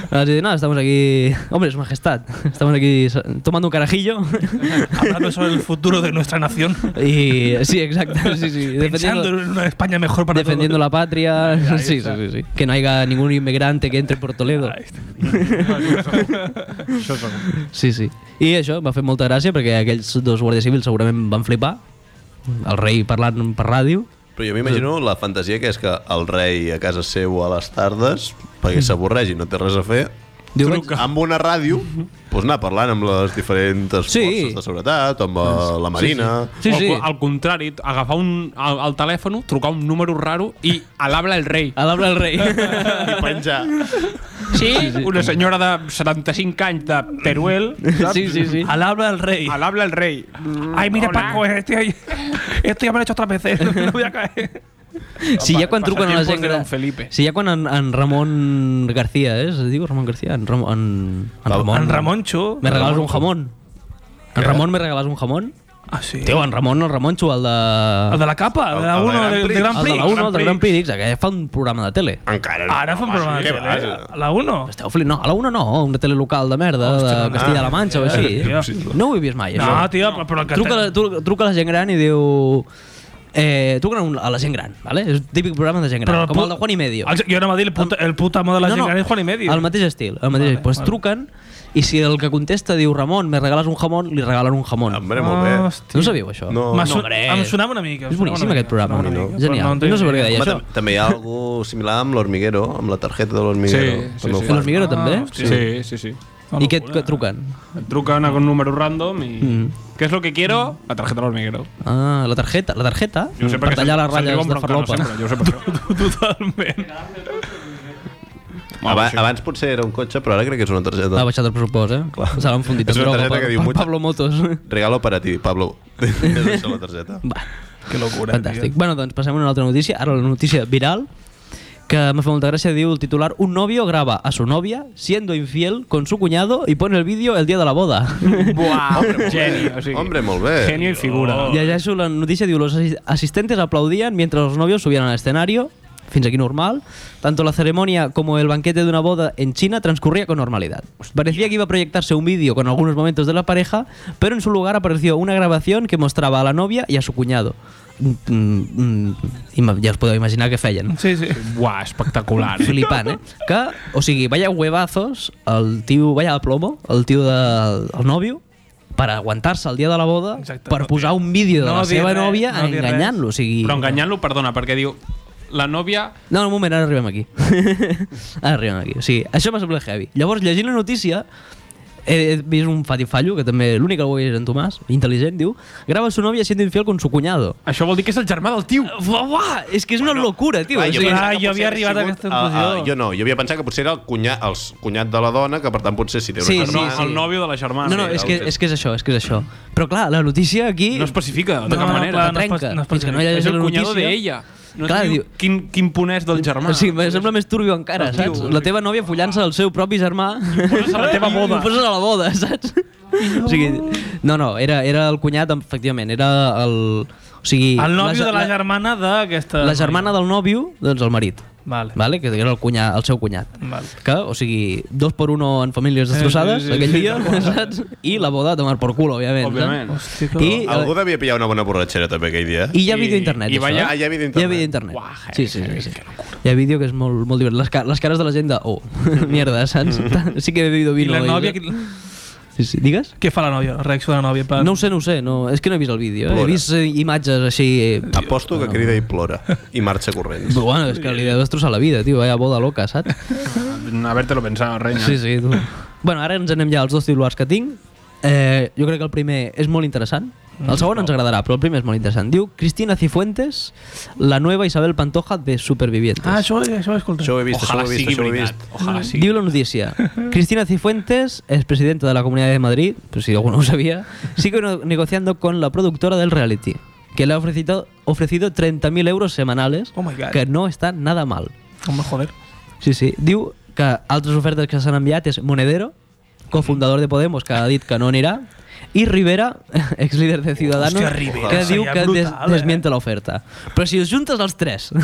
[SPEAKER 2] Doncs no, estamos aquí, hombre, su majestad, estamos aquí sa- tomando un carajillo.
[SPEAKER 6] Hablando sobre el futuro de nuestra nación.
[SPEAKER 2] I sí, exacte, sí, sí.
[SPEAKER 6] Pensando
[SPEAKER 2] Defendiendo,
[SPEAKER 6] en una España mejor para
[SPEAKER 2] defendiendo la patria, sí, sí, sí, sí. Que no haya ningún inmigrante que entre por Toledo. Sí, sí. I això em va fer molta gràcia perquè aquells dos guàrdies civils segurament van flipar. El rei parlant per ràdio.
[SPEAKER 4] Però jo m'imagino la fantasia que és que el rei a casa seu a les tardes, perquè s'avorreix i no té res a fer,
[SPEAKER 2] Diu,
[SPEAKER 4] amb una ràdio, doncs anar parlant amb les diferents
[SPEAKER 2] Sí.
[SPEAKER 4] forces de seguretat, amb eh, la Marina...
[SPEAKER 2] Sí,
[SPEAKER 5] O,
[SPEAKER 2] sí.
[SPEAKER 5] al contrari, agafar un, el, el telèfon, trucar un número raro i a l'habla el
[SPEAKER 6] Ah,
[SPEAKER 5] rei.
[SPEAKER 2] A l'obra el rei.
[SPEAKER 4] I penjar.
[SPEAKER 5] Sí, una senyora de 75 anys de Teruel,
[SPEAKER 2] Sí, sí, sí.
[SPEAKER 6] Al habla del rey.
[SPEAKER 5] a l'habla el rei.
[SPEAKER 6] Ay, mira,
[SPEAKER 5] Hola.
[SPEAKER 6] Paco, eh, esto ya, esto ya me lo he hecho otras veces. No voy a caer.
[SPEAKER 2] Si ja quan truquen a la gent...
[SPEAKER 5] Passatiempos de Don
[SPEAKER 2] gran-
[SPEAKER 5] Felipe.
[SPEAKER 2] Si ja quan en, en Ramon García, eh? Es diu Ramon García? En, Ramon, en, en Ramon.
[SPEAKER 6] En Ramoncho.
[SPEAKER 2] Me regalas un jamón. En Ramon me regalas un jamón?
[SPEAKER 6] Ah, sí.
[SPEAKER 2] Tio, en Ramon, el Ramonxo, el de...
[SPEAKER 6] El de la capa, el de la
[SPEAKER 4] El de
[SPEAKER 6] 1,
[SPEAKER 4] Gran
[SPEAKER 6] del
[SPEAKER 4] Prix.
[SPEAKER 6] de Gran
[SPEAKER 2] el de
[SPEAKER 6] Prix.
[SPEAKER 2] la 1, el de Gran Prix, Ah, que fa un programa de tele.
[SPEAKER 4] Encara no.
[SPEAKER 6] Ara fa un programa de
[SPEAKER 4] què
[SPEAKER 6] tele.
[SPEAKER 4] vas?
[SPEAKER 6] eh? A la 1.
[SPEAKER 2] Esteu flint? No, a la 1 no, una tele local de merda, de
[SPEAKER 6] Ah,
[SPEAKER 2] Castilla-La Manxa o així.
[SPEAKER 4] Hòstia.
[SPEAKER 2] No ho he vist mai, això.
[SPEAKER 6] No, tio, però- però el que...
[SPEAKER 2] truca, a la- tru- truca a la gent gran i diu... Eh, truquen a, un, a la gent gran, ¿vale? és un típic programa de gent gran,
[SPEAKER 6] Però el
[SPEAKER 2] com
[SPEAKER 6] pu-
[SPEAKER 2] el de Juan i Medio.
[SPEAKER 6] El, jo anava a dir, el puta, el puta amo de la gent gran és Juan i Medio.
[SPEAKER 2] El mateix estil. El mateix, vale, pues truquen i si el que contesta diu Ramon, me regales un jamón, li regalen un jamón.
[SPEAKER 4] Hombre, molt bé.
[SPEAKER 2] No ho sabíeu, això?
[SPEAKER 4] No.
[SPEAKER 6] M'ha
[SPEAKER 4] M'ha
[SPEAKER 6] su-
[SPEAKER 2] hombre.
[SPEAKER 6] Em sonava una mica. em
[SPEAKER 2] És
[SPEAKER 6] sonava
[SPEAKER 2] boníssim, aquest
[SPEAKER 6] una mica,
[SPEAKER 2] programa.
[SPEAKER 6] em sonava una mica,
[SPEAKER 2] Genial.
[SPEAKER 6] però en
[SPEAKER 2] No
[SPEAKER 6] tenia
[SPEAKER 2] sé per què
[SPEAKER 6] idea.
[SPEAKER 2] deia
[SPEAKER 4] Home,
[SPEAKER 2] això.
[SPEAKER 4] tam- també hi ha alguna similar amb l'Hormiguero, amb la targeta de l'Hormiguero.
[SPEAKER 5] Sí, sí,
[SPEAKER 4] També ho
[SPEAKER 5] sí.
[SPEAKER 4] fan.
[SPEAKER 2] L'Hormiguero també?
[SPEAKER 5] Sí, sí, sí.
[SPEAKER 2] I què et truquen?
[SPEAKER 5] Et truquen a un número random i... Mm. ¿Qué es lo que quiero? La tarjeta del hormiguero.
[SPEAKER 2] Ah, la targeta, la targeta?
[SPEAKER 5] Jo sé
[SPEAKER 2] per
[SPEAKER 5] perquè
[SPEAKER 2] tallar les
[SPEAKER 5] se'n- se'n
[SPEAKER 2] ratlles
[SPEAKER 5] diuen
[SPEAKER 2] de
[SPEAKER 5] broncano
[SPEAKER 2] farlopa.
[SPEAKER 5] sempre, Jo ho sé per què.
[SPEAKER 6] Totalment.
[SPEAKER 4] Aba abans potser era un cotxe, però ara crec que és una targeta.
[SPEAKER 2] Ha baixat el pressupost, eh? Clar. Se l'han fundit.
[SPEAKER 4] És una
[SPEAKER 2] Però
[SPEAKER 4] targeta
[SPEAKER 2] per-
[SPEAKER 4] que diu
[SPEAKER 2] per
[SPEAKER 4] mucho.
[SPEAKER 2] Pablo Motos.
[SPEAKER 4] Regalo para ti, Pablo. És això, la targeta.
[SPEAKER 2] Va,
[SPEAKER 6] Que locura.
[SPEAKER 2] fantàstic. Bueno, doncs passem a una altra notícia. Ara la notícia viral, que m'ha fet molta gràcia, diu el titular Un novio graba a su novia siendo infiel con su cuñado y pone el vídeo el día de la boda.
[SPEAKER 5] Buah, geni, o sigui,
[SPEAKER 4] Hombre, molt Ah, bé.
[SPEAKER 5] genio y figura.
[SPEAKER 2] Oh. Llegeixo la notícia, diu Los asistentes aplaudían mientras los novios subían al escenario Fins aquí normal. Tanto la ceremonia como el banquete de una boda en China transcurría con normalidad. Pues Parecía que iba a proyectarse un vídeo con algunos momentos de la pareja, pero en su lugar apareció una grabación que mostraba a la novia y a su cuñado. Mm, mm, mm, ima- ja us podeu imaginar què feien.
[SPEAKER 6] Sí, sí.
[SPEAKER 5] Buah, espectacular. eh?
[SPEAKER 2] Flipant, eh? Que, o sigui, vaya huevazos, el tio, vaya plomo, el tio del el nòvio, per aguantar-se el dia de la boda,
[SPEAKER 6] Exacte,
[SPEAKER 2] per
[SPEAKER 6] no
[SPEAKER 2] posar un vídeo de
[SPEAKER 6] no
[SPEAKER 2] la
[SPEAKER 6] dir
[SPEAKER 2] seva
[SPEAKER 6] res,
[SPEAKER 2] nòvia
[SPEAKER 6] no dir res.
[SPEAKER 2] enganyant-lo, o sigui...
[SPEAKER 5] Però enganyant-lo, perdona, perquè diu la nòvia...
[SPEAKER 2] No, un moment, ara arribem aquí. ara arribem aquí. O sigui, això m'ha semblat heavy. Llavors, llegint la notícia, he vist un fatifallo, que també l'únic que ho és en Tomàs, intel·ligent, diu, grava su novia siendo infiel con su cuñado.
[SPEAKER 5] Això vol dir que és el germà del tio.
[SPEAKER 2] Uah, uah, és que és una locura, tio.
[SPEAKER 4] Clar,
[SPEAKER 2] o
[SPEAKER 4] jo
[SPEAKER 2] sigui,
[SPEAKER 4] pensava
[SPEAKER 6] ah,
[SPEAKER 4] que
[SPEAKER 6] jo havia
[SPEAKER 4] potser
[SPEAKER 6] arribat a
[SPEAKER 4] hagués
[SPEAKER 6] aquesta
[SPEAKER 4] sigut, ah,
[SPEAKER 6] conclusió.
[SPEAKER 4] ah, jo no, jo havia pensat que potser era el cunyat, els cunyat de la dona, que per tant potser si té una
[SPEAKER 2] Sí,
[SPEAKER 5] El, no,
[SPEAKER 4] germana...
[SPEAKER 5] Ah, el nòvio de la germana.
[SPEAKER 2] no, no, és que, és que és això, és que és això. Però clar, la notícia aquí...
[SPEAKER 5] No especifica, de
[SPEAKER 2] no,
[SPEAKER 5] cap
[SPEAKER 2] no,
[SPEAKER 5] manera.
[SPEAKER 2] clar,
[SPEAKER 6] no es pot-
[SPEAKER 2] trenca,
[SPEAKER 6] no es pot
[SPEAKER 2] fins que no
[SPEAKER 6] dir.
[SPEAKER 5] és
[SPEAKER 2] llegeixes
[SPEAKER 5] el
[SPEAKER 2] la
[SPEAKER 5] cunyado
[SPEAKER 2] notícia.
[SPEAKER 5] d'ella. No
[SPEAKER 2] Clar,
[SPEAKER 5] Clar, diu,
[SPEAKER 2] diu-
[SPEAKER 5] quin, quin ponès del germà.
[SPEAKER 2] O sigui, me sembla més turbio encara,
[SPEAKER 5] No,
[SPEAKER 2] saps?
[SPEAKER 5] tio.
[SPEAKER 2] La teva nòvia follant-se del seu propi germà.
[SPEAKER 5] poses a la teva boda.
[SPEAKER 2] I ho poses a la boda, saps? O sigui, no, no, era, era el cunyat, efectivament, era el... O sigui,
[SPEAKER 6] El nòvio
[SPEAKER 2] ge-
[SPEAKER 6] de la germana d'aquesta...
[SPEAKER 2] La germana del nòvio, doncs el marit.
[SPEAKER 6] Vale.
[SPEAKER 2] Vale? Que era el, cunyat, el seu cunyat.
[SPEAKER 6] Vale.
[SPEAKER 2] Que, o sigui, dos per uno en famílies destrossades
[SPEAKER 6] sí, sí,
[SPEAKER 2] aquell
[SPEAKER 6] sí,
[SPEAKER 2] dia, saps? I la boda a tomar por culo, òbviament. saps?
[SPEAKER 5] Òbviament.
[SPEAKER 6] Hòstia, que...
[SPEAKER 2] I,
[SPEAKER 4] Algú devia pillar una bona borratxera també aquell dia. eh?
[SPEAKER 2] i hi ha
[SPEAKER 5] I-
[SPEAKER 2] vídeo a internet.
[SPEAKER 5] i
[SPEAKER 2] d'això,
[SPEAKER 5] ballar-
[SPEAKER 2] eh?
[SPEAKER 4] Ah, hi ha vídeo a
[SPEAKER 2] Hi ha vídeo a
[SPEAKER 4] internet.
[SPEAKER 2] internet.
[SPEAKER 5] Uah,
[SPEAKER 2] sí, sí, sí, sí. Hi ha vídeo que és molt, molt divertit. Les, ca les cares de la gent de... Oh, mierda, saps?
[SPEAKER 4] Mm.
[SPEAKER 2] sí que he bebido
[SPEAKER 6] I
[SPEAKER 2] vino.
[SPEAKER 6] la nòvia...
[SPEAKER 2] I... Sí, sí. Digues?
[SPEAKER 6] Què fa la nòvia? La reacció de la nòvia? en Plan...
[SPEAKER 2] No ho sé, no ho sé. No, és que no he vist el vídeo. Eh? He
[SPEAKER 4] Plora.
[SPEAKER 2] vist eh, imatges així... eh,
[SPEAKER 4] Aposto que crida i plora. I marxa corrents.
[SPEAKER 2] Però bueno, és que li deu destrossar la vida, tio. Vaya boda loca, saps?
[SPEAKER 5] Haver-te-lo pensat, reina.
[SPEAKER 2] Sí, sí, tu. Bueno, ara ens anem ja als dos titulars que tinc. Eh, jo crec que el primer és molt interessant.
[SPEAKER 4] Mm.
[SPEAKER 2] El segon ens agradarà, però el primer és molt interessant. Diu Cristina Cifuentes, la nueva Isabel Pantoja de Supervivientes.
[SPEAKER 6] Ah, això, això ho he escoltat.
[SPEAKER 4] Això ho he vist,
[SPEAKER 5] Ojalá
[SPEAKER 4] això ho he vist,
[SPEAKER 5] sigui
[SPEAKER 4] això ho he
[SPEAKER 5] veritat.
[SPEAKER 4] vist.
[SPEAKER 5] Ojalá sigui.
[SPEAKER 2] Diu la noticia. Cristina Cifuentes es presidenta de la Comunidad de Madrid, pues si alguno lo sabía, sigue no- negociando con la productora del reality, que le ha ofrecido, ofrecido 30.000 euros semanales,
[SPEAKER 6] Oh my God.
[SPEAKER 2] que no está nada mal.
[SPEAKER 6] Home, joder.
[SPEAKER 2] Sí, sí. Diu que altres ofertes que s'han enviat és Monedero, cofundador de Podemos, que ha dit que no anirà, i Rivera, exlíder de Ciudadanos,
[SPEAKER 6] Hòstia, Rivera,
[SPEAKER 2] que diu
[SPEAKER 6] seria
[SPEAKER 2] que des,
[SPEAKER 6] brutal, eh?
[SPEAKER 2] desmienta l'oferta. Però si us juntes els tres, oh.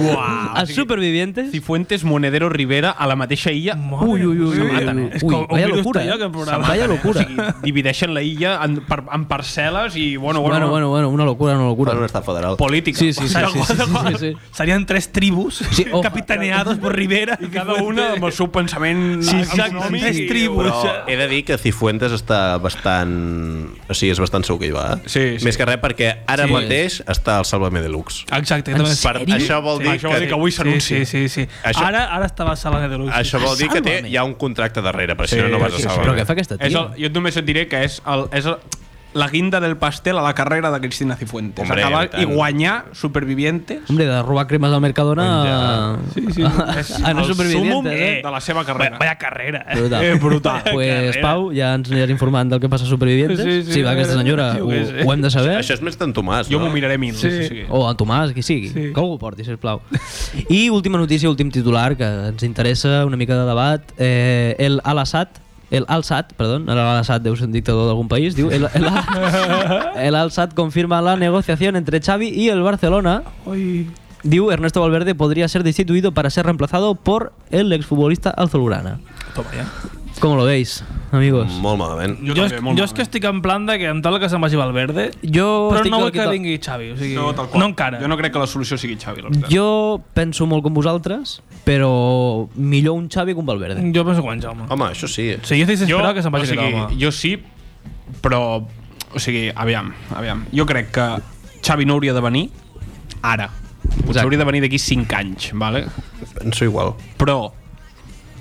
[SPEAKER 5] Uau.
[SPEAKER 2] els supervivientes...
[SPEAKER 5] Cifuentes, Monedero, Rivera, a la mateixa illa.
[SPEAKER 6] Ui, ui, ui, ui,
[SPEAKER 5] Maten,
[SPEAKER 6] ui.
[SPEAKER 5] eh?
[SPEAKER 6] És que
[SPEAKER 2] Ui,
[SPEAKER 6] ho- ho
[SPEAKER 2] vaya
[SPEAKER 6] miro
[SPEAKER 2] locura,
[SPEAKER 6] està
[SPEAKER 2] eh?
[SPEAKER 6] allò que programa.
[SPEAKER 2] Vaya locura.
[SPEAKER 5] Divideixen la illa en, per, en parcel·les i, bueno, bueno,
[SPEAKER 2] Bueno, bueno, bueno, una locura, una locura.
[SPEAKER 4] Fan un estat federal.
[SPEAKER 5] política.
[SPEAKER 2] Sí, sí, sí, sí, sí, sí, sí.
[SPEAKER 6] Serien tres tribus
[SPEAKER 2] Sí, oh.
[SPEAKER 6] capitaneados por Rivera.
[SPEAKER 5] I cada una amb el seu pensament
[SPEAKER 6] Sí, sí,
[SPEAKER 5] econòmic
[SPEAKER 6] tres
[SPEAKER 5] i-
[SPEAKER 6] tribus.
[SPEAKER 4] Però he de dir que Cifuentes està bastant... O sigui, és bastant segur que hi va. eh?
[SPEAKER 5] Sí, sí.
[SPEAKER 4] Més que res perquè ara
[SPEAKER 2] Sí.
[SPEAKER 4] mateix està al Salvament Deluxe.
[SPEAKER 6] Exacte. que també-
[SPEAKER 4] Per, això vol dir
[SPEAKER 5] Això vol dir que avui s'anuncia.
[SPEAKER 6] Sí, sí, sí. sí.
[SPEAKER 4] Això-
[SPEAKER 6] Ara, ara estava a sala de Deluxe.
[SPEAKER 4] Això vol dir que té,
[SPEAKER 2] Sálvame.
[SPEAKER 4] hi ha un contracte darrere, per això no vas a
[SPEAKER 2] Però què
[SPEAKER 4] Salvament.
[SPEAKER 2] fa aquesta
[SPEAKER 5] És
[SPEAKER 2] tia?
[SPEAKER 5] el, jo només et diré que és, el, és el, la guinda del pastel a la carrera de Cristina Cifuentes.
[SPEAKER 4] Hombre,
[SPEAKER 5] Acabar
[SPEAKER 4] i tant.
[SPEAKER 5] i guanyar Supervivientes
[SPEAKER 2] Hombre, de robar cremes al Mercadona a,
[SPEAKER 6] Sí, sí.
[SPEAKER 5] és
[SPEAKER 6] Ah,
[SPEAKER 2] a no
[SPEAKER 5] el súmum
[SPEAKER 2] supervivientes, eh?
[SPEAKER 5] de la seva
[SPEAKER 6] Vaya,
[SPEAKER 5] carrera.
[SPEAKER 6] vaya carrera. eh?
[SPEAKER 2] Brutal.
[SPEAKER 5] Eh, brutal.
[SPEAKER 2] Pues, Pau, ja ens aniràs informant del que passa a Supervivientes.
[SPEAKER 6] Sí, sí,
[SPEAKER 2] si va
[SPEAKER 6] a
[SPEAKER 2] aquesta
[SPEAKER 6] veure,
[SPEAKER 2] senyora,
[SPEAKER 6] tio,
[SPEAKER 2] ho,
[SPEAKER 6] que és, eh?
[SPEAKER 2] ho hem de saber.
[SPEAKER 4] Això és més d'en Tomàs,
[SPEAKER 5] Jo m'ho
[SPEAKER 4] no?
[SPEAKER 5] miraré mil.
[SPEAKER 6] Sí.
[SPEAKER 5] o sigui.
[SPEAKER 2] O en Tomàs, qui sigui.
[SPEAKER 6] Sí.
[SPEAKER 2] Sí. Que algú ho porti, sisplau. I última notícia, últim titular, que ens interessa una mica de debat. Eh, el Al-Assad, el Al-Assad, perdó, Al-Assad deu ser un dictador d'algun país, diu, el, el, el Al-Assad confirma la negociación entre Xavi y el Barcelona.
[SPEAKER 6] Ui.
[SPEAKER 2] Diu, Ernesto Valverde podría ser destituido para ser reemplazado por el exfutbolista alzolurana.
[SPEAKER 6] Toma, ja.
[SPEAKER 2] ¿Cómo lo veis, amigos?
[SPEAKER 6] Mm.
[SPEAKER 4] Molt malament.
[SPEAKER 5] Jo,
[SPEAKER 6] Jo,
[SPEAKER 5] també, molt
[SPEAKER 6] jo és que estic en plan de que em tal que se'n vagi Valverde,
[SPEAKER 2] Jo
[SPEAKER 6] però
[SPEAKER 2] estic
[SPEAKER 6] no
[SPEAKER 2] del
[SPEAKER 6] vull que
[SPEAKER 2] quinto-
[SPEAKER 6] vingui Xavi. O sigui,
[SPEAKER 5] No, tal qual.
[SPEAKER 6] no encara.
[SPEAKER 5] Jo no crec que la solució sigui Xavi, la veritat.
[SPEAKER 2] Jo penso molt com vosaltres, però millor un Xavi que un Valverde.
[SPEAKER 6] jo penso que guanys, home.
[SPEAKER 4] Home, això sí.
[SPEAKER 6] Sí, jo estic desesperat que se'n
[SPEAKER 5] o
[SPEAKER 6] vagi
[SPEAKER 5] sigui,
[SPEAKER 6] aquest home.
[SPEAKER 5] jo sí, però... O sigui, aviam, aviam. Jo crec que Xavi no hauria de venir ara. Potser
[SPEAKER 2] Exacte.
[SPEAKER 5] hauria de venir d'aquí 5 anys, vale?
[SPEAKER 4] Penso igual.
[SPEAKER 5] però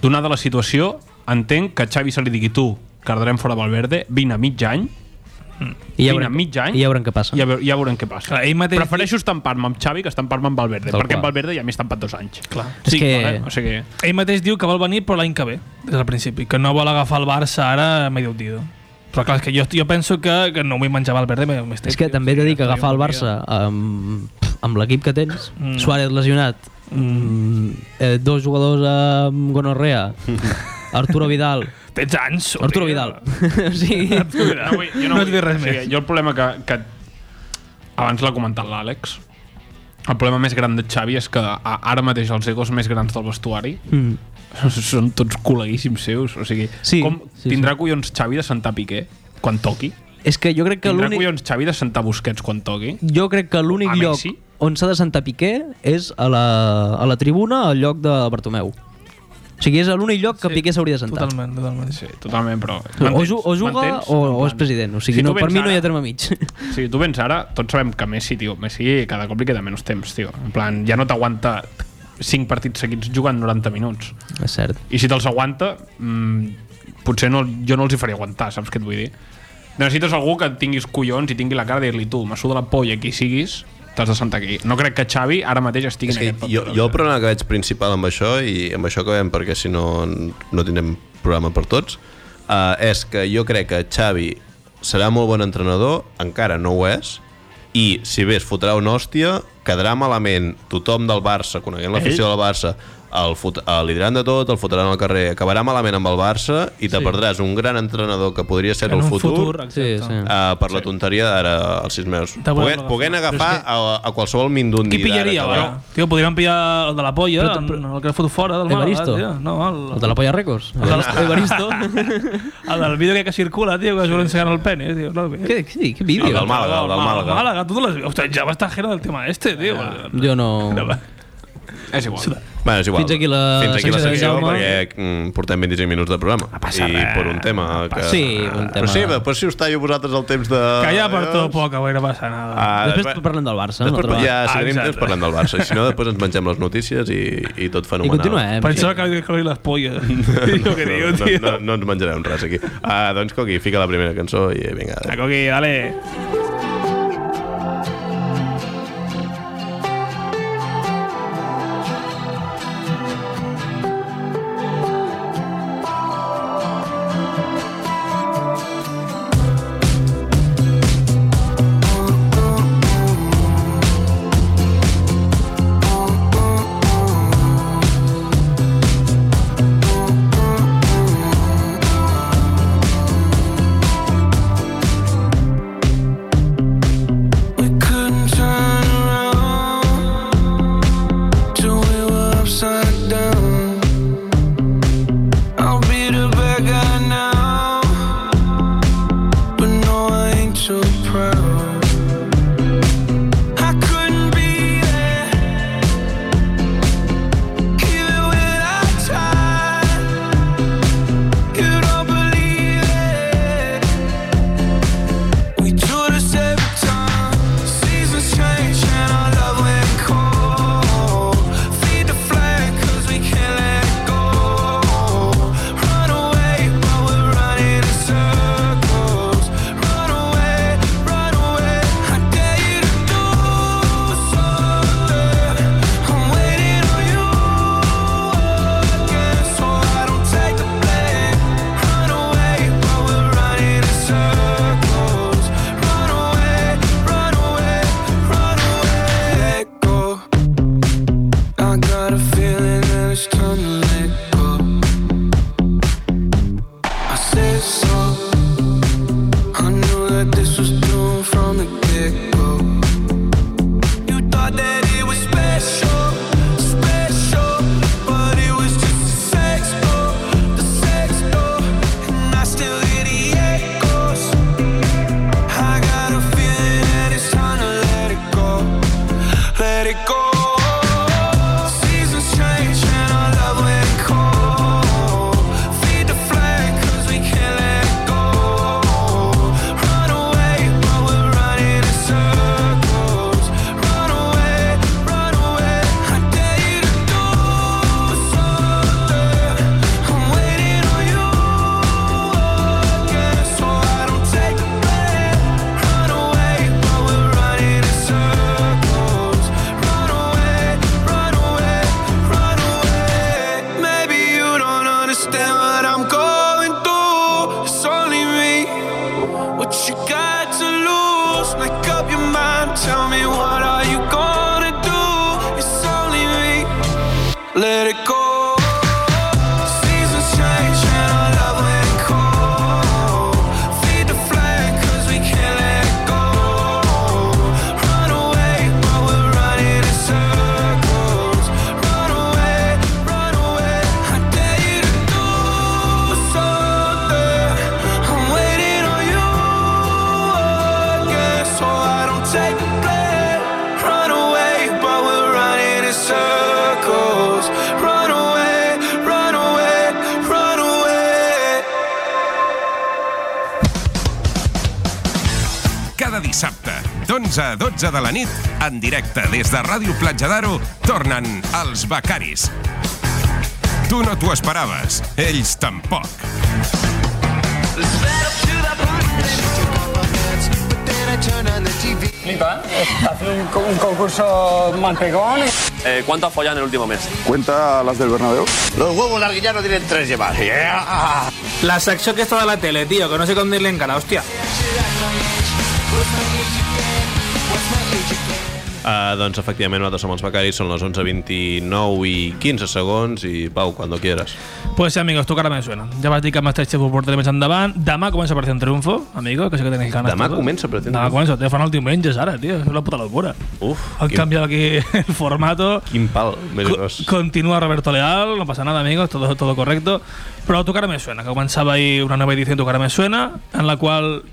[SPEAKER 5] donada la situació, entenc que a Xavi se li digui tu, quedarem fora Valverde, vine a mig any,
[SPEAKER 2] I
[SPEAKER 5] Vine a mig any.
[SPEAKER 2] I ja veurem què passa.
[SPEAKER 5] ja, ve ja veurem què passa.
[SPEAKER 6] Clar, ell mateix-
[SPEAKER 5] Prefereixo estampar-me amb Xavi que estampar-me amb Valverde,
[SPEAKER 2] Tal
[SPEAKER 5] perquè amb
[SPEAKER 2] qual.
[SPEAKER 5] Valverde ja m'he estampat dos anys. Clar.
[SPEAKER 2] És
[SPEAKER 5] Sí,
[SPEAKER 2] que-
[SPEAKER 5] vale? o sigui,
[SPEAKER 6] Ell mateix diu que vol venir però l'any que ve, des del principi, que no vol agafar el Barça ara medio hundido. Però clar, és que jo, jo penso que, que no vull menjar Valverde més
[SPEAKER 2] És que també he de dir que agafar el Barça amb, amb l'equip que tens,
[SPEAKER 6] Mm.
[SPEAKER 2] Suárez lesionat, mm. eh, dos jugadors amb gonorrea, Arturo Vidal,
[SPEAKER 6] Tens anys, hòstia.
[SPEAKER 2] Arturo Vidal. o sigui,
[SPEAKER 5] no vull, jo
[SPEAKER 6] No
[SPEAKER 5] no,
[SPEAKER 6] et
[SPEAKER 5] vull.
[SPEAKER 6] diré res
[SPEAKER 5] o sigui,
[SPEAKER 6] més.
[SPEAKER 5] Jo el problema que, que abans l'ha comentat l'Àlex El problema més gran de Xavi és que a- ara mateix els egos més grans del vestuari són tots col·leguíssims seus. O sigui,
[SPEAKER 2] Mm. Sí,
[SPEAKER 5] com
[SPEAKER 2] sí,
[SPEAKER 5] tindrà
[SPEAKER 2] sí.
[SPEAKER 5] collons Xavi de sentar Piqué quan toqui?
[SPEAKER 2] És que jo crec que
[SPEAKER 5] Tindrà
[SPEAKER 2] l'únic
[SPEAKER 5] collons Xavi de sentar Busquets quan toqui?
[SPEAKER 2] jo crec que l'únic
[SPEAKER 5] A
[SPEAKER 2] lloc
[SPEAKER 5] Messi?
[SPEAKER 2] on s'ha de sentar Piqué és a la, a la tribuna al lloc de Bartomeu. O sigui, és l'únic lloc que
[SPEAKER 6] Sí,
[SPEAKER 2] Piqué s'hauria de sentar.
[SPEAKER 6] Totalment, totalment.
[SPEAKER 5] Sí, totalment, però...
[SPEAKER 2] O,
[SPEAKER 5] m'entens?
[SPEAKER 2] ju o juga
[SPEAKER 5] M'entens?
[SPEAKER 2] o,
[SPEAKER 5] En
[SPEAKER 2] o és
[SPEAKER 5] plan,
[SPEAKER 2] president. O sigui,
[SPEAKER 5] si tu
[SPEAKER 2] no, per
[SPEAKER 5] vens
[SPEAKER 2] mi no hi
[SPEAKER 5] ara-
[SPEAKER 2] ha terme mig.
[SPEAKER 5] Sí, tu vens ara, tots sabem que Messi, tio, Messi cada cop li queda menys temps, tio. En plan, ja no t'aguanta 5 partits seguits jugant 90 minuts.
[SPEAKER 2] és cert.
[SPEAKER 5] I si te'ls aguanta, mm, potser no, jo no els hi faria aguantar, saps què et vull dir? Necessites algú que tinguis collons i tingui la cara de dir-li tu, me suda la polla qui siguis, t'has de sentar aquí. No crec que Xavi ara mateix estigui
[SPEAKER 4] És
[SPEAKER 5] en
[SPEAKER 4] que
[SPEAKER 5] aquest paper.
[SPEAKER 4] jo,
[SPEAKER 6] eh?
[SPEAKER 4] jo el problema que veig principal amb això, i amb això acabem perquè si no no tindrem programa per tots, uh, és que jo crec que Xavi serà molt bon entrenador, encara no ho és, i si bé es fotrà una hòstia, quedarà malament tothom del Barça, coneguent l'afició del Barça, el, fot, el lideran de tot, el fotran al carrer, acabarà malament amb el Barça i te perdràs un gran entrenador que podria ser
[SPEAKER 6] En
[SPEAKER 4] el
[SPEAKER 6] un
[SPEAKER 4] futur,
[SPEAKER 6] futur, eh,
[SPEAKER 2] Sí,
[SPEAKER 6] exacte.
[SPEAKER 2] sí.
[SPEAKER 4] Uh, per la tonteria d'ara als sis mesos.
[SPEAKER 6] Te volem
[SPEAKER 4] Poguent,
[SPEAKER 6] agafar.
[SPEAKER 4] poguent agafar
[SPEAKER 6] Però és que-
[SPEAKER 4] a, a qualsevol mindundi
[SPEAKER 6] Qui pillaria,
[SPEAKER 4] d'ara que va.
[SPEAKER 6] ara? Tio, podrien pillar el de la polla,
[SPEAKER 2] Però-
[SPEAKER 6] però,
[SPEAKER 2] però-
[SPEAKER 6] el que el fot fora del Màlaga,
[SPEAKER 2] Evaristo?
[SPEAKER 6] tio. No, el,
[SPEAKER 2] El de la Polla Records.
[SPEAKER 6] el de la- Evaristo. el del vídeo que, que circula, tio, que es vol ensenyar el pene, tio. No, bé.
[SPEAKER 2] Què, què, què vídeo?
[SPEAKER 4] El del Málaga, el del Málaga.
[SPEAKER 6] Málaga, tú las... Hostia, ya va a estar ajena del tema este, tío.
[SPEAKER 2] Jo no...
[SPEAKER 5] És igual.
[SPEAKER 4] Bueno, és igual.
[SPEAKER 2] Fins aquí la
[SPEAKER 4] Fins aquí la
[SPEAKER 2] secció de
[SPEAKER 4] secció,
[SPEAKER 2] Jaume.
[SPEAKER 4] perquè mm, portem 25 minuts de programa. No I per un tema... que...
[SPEAKER 2] Sí, un tema.
[SPEAKER 4] Però sí, però si us tallo vosaltres el temps de...
[SPEAKER 6] Calla per todo poca, güey, no passa nada.
[SPEAKER 4] Ah,
[SPEAKER 2] Després parlem del Barça, en un
[SPEAKER 4] Després
[SPEAKER 2] altre
[SPEAKER 4] ja, si
[SPEAKER 6] Ah,
[SPEAKER 4] tenim
[SPEAKER 6] exacte.
[SPEAKER 4] temps, parlem del Barça. I si no, després ens mengem les notícies i, i tot
[SPEAKER 2] I
[SPEAKER 4] fenomenal.
[SPEAKER 2] continuem.
[SPEAKER 6] Pensava que havia de les polles. Lo que digo,
[SPEAKER 4] No,
[SPEAKER 6] tío.
[SPEAKER 4] no, no ens menjarem res aquí. Ah, doncs, Coqui, fica la primera cançó i vinga.
[SPEAKER 6] La coqui, dale.
[SPEAKER 3] Cada dissabte, d'11 a 12 de la nit, en directe des de Ràdio Platja d'Aro, tornen els becaris. Tu no t'ho esperaves, ells tampoc.
[SPEAKER 7] Eh, ¿Cuánto has follado en el último mes?
[SPEAKER 8] Cuenta las del Bernabéu.
[SPEAKER 9] Los huevos larguillanos tienen tres llevar.
[SPEAKER 6] La secció aquesta de la tele, tio, que no sé com dir-li encara, hòstia.
[SPEAKER 4] Uh, doncs, efectivament, nosaltres som els becaris, són les 11.29 i 15 segons i, Pau, quan quieras.
[SPEAKER 6] Pues sí, amigos, tu cara me suena. Ya vas a decir que Masterchef ho portaré més endavant. Demà comença per un triunfo, amigo, que sé que tenéis ganas.
[SPEAKER 4] Demà
[SPEAKER 6] todos.
[SPEAKER 4] comença Operación
[SPEAKER 6] Demà
[SPEAKER 4] Triunfo.
[SPEAKER 6] comença, te fan el diumenges ara, tio. És una puta locura.
[SPEAKER 4] Uf,
[SPEAKER 6] Han
[SPEAKER 4] quin,
[SPEAKER 6] canviat aquí el formato.
[SPEAKER 4] quin pal, més
[SPEAKER 6] Co-
[SPEAKER 4] gros.
[SPEAKER 6] Continúa Roberto Leal, no pasa nada, amigos, todo, todo correcto. Pero Tu cara me suena, que comenzaba ahí una nueva edición de Tu cara me suena, en la cual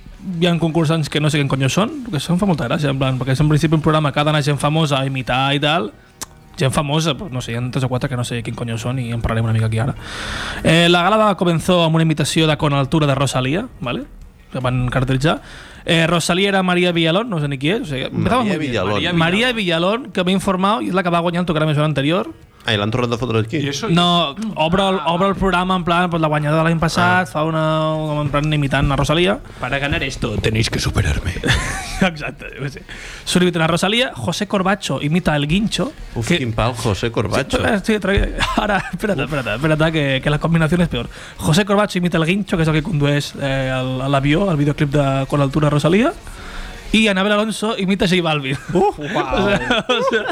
[SPEAKER 6] hi ha concursants que no sé quin coño són, que això em fa molta gràcia, en plan, perquè és en principi un programa que ha d'anar gent famosa a imitar i tal, gent famosa, pues, no sé, hi ha tres o quatre que no sé quin coño són i en parlarem una mica aquí ara. Eh, la gala va començar amb una imitació de Con Altura de Rosalía, ¿vale? que van cartelitjar. Eh, Rosalía era María Villalón, no sé ni qui és. O sigui, empezava
[SPEAKER 4] María
[SPEAKER 6] molt bé.
[SPEAKER 4] Villalón.
[SPEAKER 6] María María Villalón, que m'he informat, i és la que va guanyar el Tu cara me suena anterior,
[SPEAKER 4] Ai, l'han tornat a fotre aquí?
[SPEAKER 5] I això...
[SPEAKER 6] no, obre el, obre el programa en plan pues, la guanyada de l'any passat, ah. fa una, com en plan imitant a Rosalía.
[SPEAKER 7] Para ganar esto tenéis que superarme.
[SPEAKER 6] Exacte, jo què sé. Surt imitant a Rosalía, José Corbacho imita el guincho.
[SPEAKER 4] Uf, quin pal, José Corbacho.
[SPEAKER 6] Sí, sí, tra- ara, espera't, espera't, espera't, que, que la combinació és peor. José Corbacho imita el guincho, que és el que condueix eh, el- l'avió, el videoclip de Con altura Rosalía. I Anabel Alonso imita J Balvin. Uh, wow. o sea, o sea,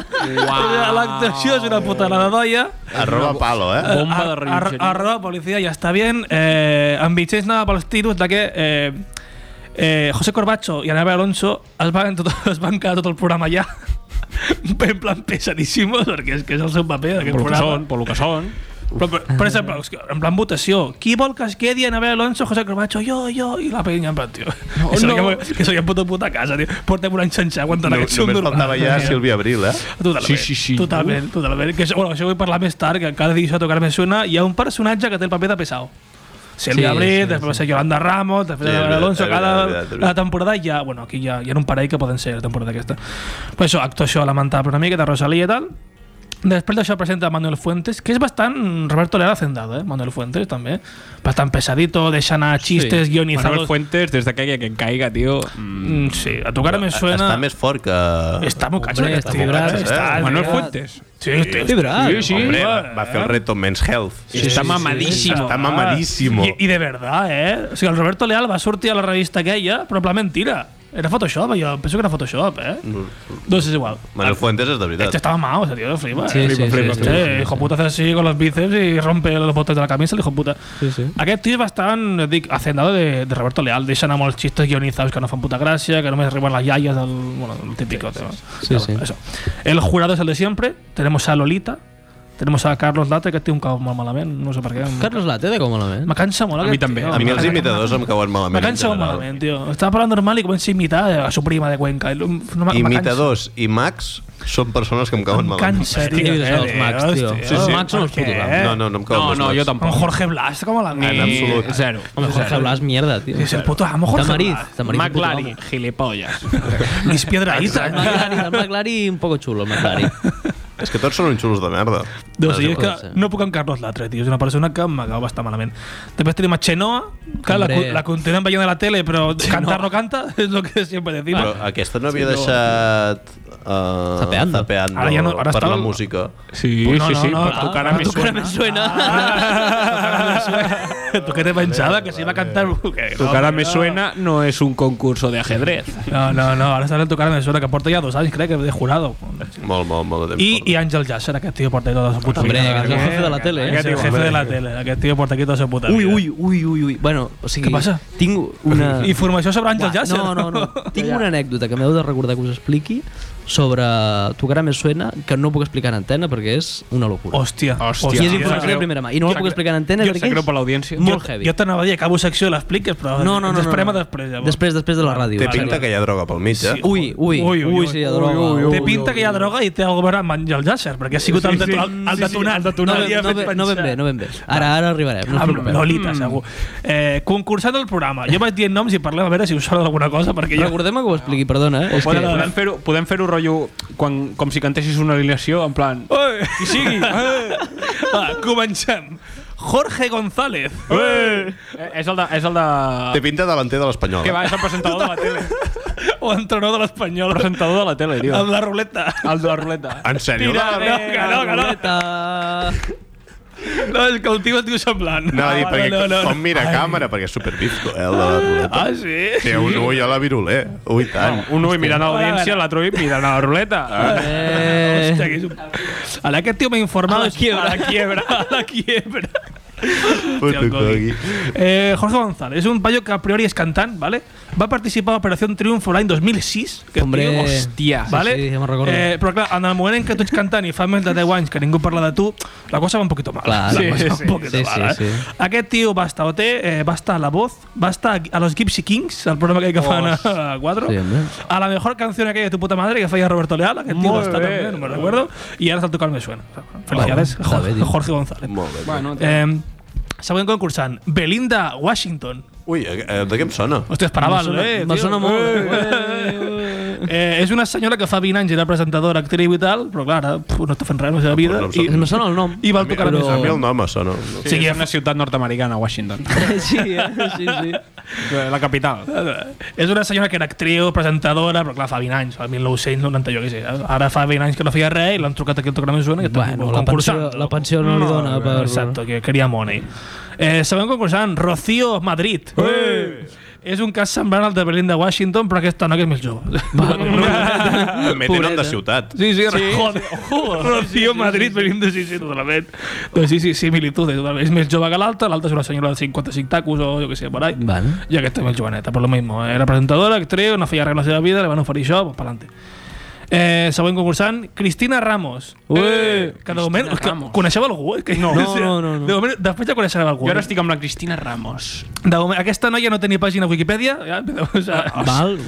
[SPEAKER 6] wow. L'actuació és una puta la doia.
[SPEAKER 4] Arroba palo, eh?
[SPEAKER 5] Bomba de
[SPEAKER 6] Ar-
[SPEAKER 5] rellotgeria.
[SPEAKER 6] Arroba policia, ja està bé. Eh, en Vitxell anava pels tiros de que eh, eh, José Corbacho i Anabel Alonso es van, tot, es van quedar tot el programa allà en plan pesadíssimos, perquè és que és el seu paper d'aquest
[SPEAKER 5] Pel que
[SPEAKER 6] programa.
[SPEAKER 5] són, pel que són.
[SPEAKER 6] Però, per, per exemple, és que en plan votació, qui vol que es quedi Anabel Alonso, José Corbacho, jo, jo, i la penya en plan, tio,
[SPEAKER 4] Oh,
[SPEAKER 6] no, que, no. que, que seria puta puta a casa, tio. Portem un any sencer aguantant
[SPEAKER 4] No,
[SPEAKER 6] aquest xum
[SPEAKER 4] només faltava ja Sílvia Abril, eh?
[SPEAKER 6] Totalment.
[SPEAKER 5] Sí, sí, sí.
[SPEAKER 6] Totalment, totalment. Que, això- bueno, això ho vull parlar més tard, que cada dia això tocar me suena. Hi ha un personatge que té el paper de pesau. Sílvia
[SPEAKER 2] Sí,
[SPEAKER 6] sí, Abril,
[SPEAKER 2] sí,
[SPEAKER 6] sí, després va ser Yolanda Ramos, després
[SPEAKER 4] Sí,
[SPEAKER 6] sí,
[SPEAKER 4] és veritat,
[SPEAKER 6] Alonso,
[SPEAKER 4] és
[SPEAKER 6] cada
[SPEAKER 4] veritat, és veritat, és veritat.
[SPEAKER 6] la temporada ja, bueno, aquí ja, hi ha un parell que poden ser la temporada aquesta. Però això, actuació lamentable una mica, de Rosalía i tal. Després d'això presenta Manuel Fuentes, que és bastant Roberto Leal hacendado, eh? Manuel Fuentes també. Bastant pesadito, deixa anar xistes sí.
[SPEAKER 5] Manuel
[SPEAKER 6] guionizados.
[SPEAKER 5] Fuentes, des de que, que caiga, tio... Mm.
[SPEAKER 6] Mm, sí, a tocar me suena...
[SPEAKER 4] Està més fort que...
[SPEAKER 6] Està molt catxo,
[SPEAKER 2] Hombre,
[SPEAKER 6] aquest
[SPEAKER 2] està
[SPEAKER 6] tio,
[SPEAKER 4] molt catxo,
[SPEAKER 6] eh?
[SPEAKER 4] eh?
[SPEAKER 6] Està-
[SPEAKER 5] Manuel Fuentes.
[SPEAKER 6] Sí, sí,
[SPEAKER 2] Vibrar.
[SPEAKER 5] Sí, sí.
[SPEAKER 4] Hombre, va, va fer el reto Men's Health.
[SPEAKER 5] Sí, està mamadísimo.
[SPEAKER 4] Està mamadísimo.
[SPEAKER 6] I, I de verdad, eh? O sigui, el Roberto Leal va sortir a la revista aquella, però en plan mentira. Era Photoshop, jo penso que era Photoshop, eh? No, doncs és igual.
[SPEAKER 4] Manuel Fuentes és de
[SPEAKER 6] Este
[SPEAKER 4] veritat.
[SPEAKER 6] estaba mao, ese tío, lo flipa.
[SPEAKER 2] Sí,
[SPEAKER 6] eh?
[SPEAKER 2] sí, sí, sí,
[SPEAKER 6] Este hijo puta hace así con los bíceps y rompe los botones de la camisa, el hijo puta.
[SPEAKER 2] Sí, sí.
[SPEAKER 6] Aquest tio és bastant eh, dic, hacendado de, de Roberto Leal. Deixen amb els xistes guionitzats que no fan puta gràcia, que només arriben les iaies del... Bueno, el típico tema.
[SPEAKER 2] sí, sí.
[SPEAKER 6] Eso. El jurado es el de siempre. Tenemos a Lolita. Tenemos a Carlos Late, que té un cau molt malament, no sé per què.
[SPEAKER 2] Carlos Late de com malament.
[SPEAKER 6] Me cansa molt.
[SPEAKER 5] A
[SPEAKER 6] aquest
[SPEAKER 5] mi també.
[SPEAKER 6] tio.
[SPEAKER 4] A mi els imitadors em cauen
[SPEAKER 6] Me
[SPEAKER 4] malament. en
[SPEAKER 6] cansa molt
[SPEAKER 4] general.
[SPEAKER 6] malament, tio. Estava parlant normal i comença a imitar a su prima de Cuenca. I No, no, me- me
[SPEAKER 4] Imitadors i Max són persones que em cauen
[SPEAKER 6] cansa.
[SPEAKER 4] malament.
[SPEAKER 6] Cansa, Eh,
[SPEAKER 2] Què dius això dels Max, tio?
[SPEAKER 6] Hòstia.
[SPEAKER 2] Els Max són els
[SPEAKER 6] Per què?
[SPEAKER 2] putos amos.
[SPEAKER 4] No, no, no em cauen
[SPEAKER 5] No,
[SPEAKER 4] els
[SPEAKER 5] no,
[SPEAKER 4] Max.
[SPEAKER 5] jo
[SPEAKER 6] Con
[SPEAKER 5] tampoc.
[SPEAKER 6] Jorge Blas, está como la
[SPEAKER 4] En absolut.
[SPEAKER 5] Eh, Zero.
[SPEAKER 2] Home, Jorge Blas, mierda, tio.
[SPEAKER 6] Es el puto amo, Jorge
[SPEAKER 2] Tamariz.
[SPEAKER 6] Blas.
[SPEAKER 2] Tamariz, un puto
[SPEAKER 5] McLaren,
[SPEAKER 2] amo.
[SPEAKER 5] gilipollas.
[SPEAKER 6] Luis Piedrahita.
[SPEAKER 2] El McLaren, el McLaren un poco xulo, el McLaren.
[SPEAKER 4] És que tots són uns xulos de merda.
[SPEAKER 6] No, sí,
[SPEAKER 2] No,
[SPEAKER 6] és
[SPEAKER 2] pot
[SPEAKER 6] que
[SPEAKER 2] ser.
[SPEAKER 6] no puc amb Carlos Latre, tio. És una persona que m'acaba bastant malament. Després tenim a Chenoa, que la,
[SPEAKER 2] Hombre.
[SPEAKER 6] la continuem veient a la tele, però cantar no canta, és lo que sempre decimos.
[SPEAKER 4] Però aquesta no havia deixat... Uh,
[SPEAKER 2] Zapeando.
[SPEAKER 4] zapeando
[SPEAKER 6] Ara ja no- ara
[SPEAKER 4] per
[SPEAKER 6] està
[SPEAKER 4] la
[SPEAKER 6] el-
[SPEAKER 4] música.
[SPEAKER 5] Sí,
[SPEAKER 6] Pues no,
[SPEAKER 5] sí,
[SPEAKER 6] no,
[SPEAKER 5] sí,
[SPEAKER 6] no,
[SPEAKER 5] per
[SPEAKER 6] ah,
[SPEAKER 5] tu cara
[SPEAKER 6] per
[SPEAKER 5] me
[SPEAKER 6] tu cara
[SPEAKER 5] suena. Ah.
[SPEAKER 6] me suena. Tu que te pensada, que si va a cantar... Que
[SPEAKER 5] Tu
[SPEAKER 6] no,
[SPEAKER 5] cara
[SPEAKER 6] que
[SPEAKER 5] me
[SPEAKER 6] no.
[SPEAKER 5] suena no es un concurso de ajedrez.
[SPEAKER 6] No, no, no, ara estarà en tu cara me suena, que porta ja dos anys, crec, que de jurado.
[SPEAKER 4] Molt, molt, molt de temps.
[SPEAKER 6] I, i
[SPEAKER 4] perdut.
[SPEAKER 6] Àngel Llàcer, aquest tio porta aquí tota la seva puta
[SPEAKER 2] Hombre,
[SPEAKER 6] vida.
[SPEAKER 2] aquest és el jefe de la tele, eh?
[SPEAKER 6] Aquest és el jefe de la tele, aquest tio porta aquí tota la seva puta
[SPEAKER 2] Ui,
[SPEAKER 6] vida.
[SPEAKER 2] ui, ui, ui, ui. Bueno, o sigui...
[SPEAKER 6] Què passa?
[SPEAKER 2] Tinc una...
[SPEAKER 6] Informació sobre Àngel
[SPEAKER 2] Buah,
[SPEAKER 6] Llàcer.
[SPEAKER 2] No, no, no. Tinc una anècdota que m'heu de recordar que us expliqui sobre Tu cara me suena, que no puc explicar en antena perquè és una locura.
[SPEAKER 6] Hòstia.
[SPEAKER 5] Hòstia.
[SPEAKER 2] I és
[SPEAKER 5] Em
[SPEAKER 2] informació
[SPEAKER 5] sap
[SPEAKER 2] de primera mà. I no la
[SPEAKER 5] Em
[SPEAKER 2] puc
[SPEAKER 5] sap
[SPEAKER 2] explicar en antena
[SPEAKER 5] greu.
[SPEAKER 2] perquè
[SPEAKER 5] Em sap greu
[SPEAKER 2] és
[SPEAKER 5] per l'audiència.
[SPEAKER 2] molt
[SPEAKER 6] jo,
[SPEAKER 2] heavy.
[SPEAKER 6] Jo t'anava a dir, acabo secció i l'expliques, però
[SPEAKER 2] No, no, no,
[SPEAKER 6] ens
[SPEAKER 2] no,
[SPEAKER 6] esperem
[SPEAKER 2] no.
[SPEAKER 6] a després, llavors.
[SPEAKER 2] Després, després de la ràdio.
[SPEAKER 4] Té
[SPEAKER 2] en
[SPEAKER 4] pinta
[SPEAKER 2] sèrio.
[SPEAKER 4] que hi ha droga pel mig, eh?
[SPEAKER 2] Ui, ui, ui, ui, sí, hi ha droga.
[SPEAKER 6] Té pinta que hi ha droga i té el govern amb el Jasser, perquè ha sigut el, detu- el, el detonat. el
[SPEAKER 2] No,
[SPEAKER 6] detonat.
[SPEAKER 2] ben- no, ben- no ben bé, no ben bé. Ara, ara arribarem. No Mm. us
[SPEAKER 6] Amb
[SPEAKER 2] preocupeu.
[SPEAKER 6] Ah, Lolita, segur. Eh, concursant del programa. Jo vaig dient noms i parlem a veure si us sona d'alguna cosa, perquè jo...
[SPEAKER 2] Recordem que ho expliqui, perdona. Eh? És
[SPEAKER 5] Podem,
[SPEAKER 2] que...
[SPEAKER 5] podem fer-ho podem fer rotllo quan, com si cantessis una alineació, en plan...
[SPEAKER 6] Oi! Qui sigui! Va, comencem. Jorge González. Oi!
[SPEAKER 5] Eh, és el de... És el de...
[SPEAKER 4] Té pinta delanter de l'Espanyol.
[SPEAKER 5] Que va, és el presentador de la tele.
[SPEAKER 6] O entrenador de l'Espanyol.
[SPEAKER 5] presentador de la tele, tio.
[SPEAKER 6] Amb la ruleta.
[SPEAKER 5] El de la ruleta.
[SPEAKER 4] En sèrio?
[SPEAKER 6] Tira, no, que no, que no.
[SPEAKER 2] Ruleta.
[SPEAKER 6] No, és que el tio es diu semblant.
[SPEAKER 4] No, a dir, perquè
[SPEAKER 6] no, no,
[SPEAKER 4] com
[SPEAKER 6] no.
[SPEAKER 4] mira a càmera, perquè és supervisco, eh, el de la ruleta.
[SPEAKER 6] Ah, sí?
[SPEAKER 4] Té un ull a la viruler. Ui, tant.
[SPEAKER 5] Ah, Un ull mirant a l'audiència, l'altre ull mirant a la ruleta.
[SPEAKER 2] Eh.
[SPEAKER 6] Hòstia, que és un... Ara aquest tio m'ha informat...
[SPEAKER 2] A la quiebra.
[SPEAKER 6] A la quiebra. A la quiebra.
[SPEAKER 4] Puto
[SPEAKER 6] Hòstia, el Cogui.
[SPEAKER 4] Cogui.
[SPEAKER 6] Eh, Jorge González és un paio que a priori és cantant, ¿vale? va participar a Operació Triunfo l'any 2006. Que
[SPEAKER 2] Hombre.
[SPEAKER 6] tio,
[SPEAKER 2] Sí,
[SPEAKER 6] ¿vale?
[SPEAKER 2] sí, ja me'n recordo.
[SPEAKER 6] Eh, però clar, en el moment en què tu ets cantant i fa més de 10 anys que ningú parla de tu, la cosa va un poquito mal.
[SPEAKER 2] Clar,
[SPEAKER 6] la
[SPEAKER 2] sí,
[SPEAKER 6] cosa va
[SPEAKER 2] sí,
[SPEAKER 6] un poquito
[SPEAKER 2] sí,
[SPEAKER 6] mal,
[SPEAKER 2] sí,
[SPEAKER 6] eh?
[SPEAKER 2] sí.
[SPEAKER 6] Aquest tio va estar a OT, eh, va estar a La Voz, va estar a Los Gypsy Kings, el programa aquell que fan a 4.
[SPEAKER 2] Sí, hombre.
[SPEAKER 6] a la mejor canción aquella de tu puta madre que falla Roberto Leal, aquest tio va
[SPEAKER 5] Molt
[SPEAKER 6] estar
[SPEAKER 5] bé.
[SPEAKER 6] també, no me'n recordo, i ara és el tocar me suena. Felicidades,
[SPEAKER 2] Bueno, està bé,
[SPEAKER 6] Jorge,
[SPEAKER 2] tio.
[SPEAKER 6] Jorge González.
[SPEAKER 4] Molt bé.
[SPEAKER 5] Bueno, tio.
[SPEAKER 6] Eh, següent concursant, Belinda Washington.
[SPEAKER 4] Ui, eh, de què em sona? eh,
[SPEAKER 6] Hòstia, esperava el bé,
[SPEAKER 2] me
[SPEAKER 6] tio.
[SPEAKER 2] sona molt.
[SPEAKER 6] Eh, és una senyora que fa 20 anys era presentadora, actriu i tal, però clar, ara puf, no està fent res amb la seva vida.
[SPEAKER 4] No em
[SPEAKER 6] i,
[SPEAKER 4] sona.
[SPEAKER 2] Me sona el nom.
[SPEAKER 6] I va tocar
[SPEAKER 2] Però-
[SPEAKER 6] més.
[SPEAKER 4] A mi el nom em sona.
[SPEAKER 5] Sí, és una ciutat nord-americana, Washington.
[SPEAKER 2] Sí, eh? sí, sí.
[SPEAKER 5] Eh, La capital.
[SPEAKER 6] És una senyora que era actriu, presentadora, però clar, fa 20 anys, fa 1990, jo què sé. Ara fa 20 anys que no feia res i l'han trucat aquí al Tocar més Zona i està
[SPEAKER 2] Bueno, la pensió, la pensió no li dona per...
[SPEAKER 6] Exacto, que quería money. Eh, següent concursant, Rocío Madrid. Ei! És un cas semblant al de Belinda Washington, però aquesta noia és més jove.
[SPEAKER 4] També té nom de ciutat.
[SPEAKER 6] Ah, Sí, sí, sí, joder. joder. Rocío Madrid, Belinda, sí, sí, totalment. Doncs sí, sí, similitudes. totalment. És més jove que l'altra, l'altra és una senyora de 55 tacos o jo què sé, por ahí.
[SPEAKER 2] Vale.
[SPEAKER 6] I aquesta és més joveneta, per lo mismo. Era presentadora, actriu, no feia res a la seva vida, li van oferir això, pues, pa'lante. Eh, següent concursant, Cristina Ramos. Eh, que de moment... Que,
[SPEAKER 5] Ramos.
[SPEAKER 6] coneixeu algú? Eh? Que, no,
[SPEAKER 2] no, no, no.
[SPEAKER 6] De moment, després ja coneixerem algú.
[SPEAKER 5] Jo ara estic amb la Cristina Ramos.
[SPEAKER 6] De moment, aquesta noia no tenia pàgina a Wikipedia. Ja, o sea,
[SPEAKER 2] Val.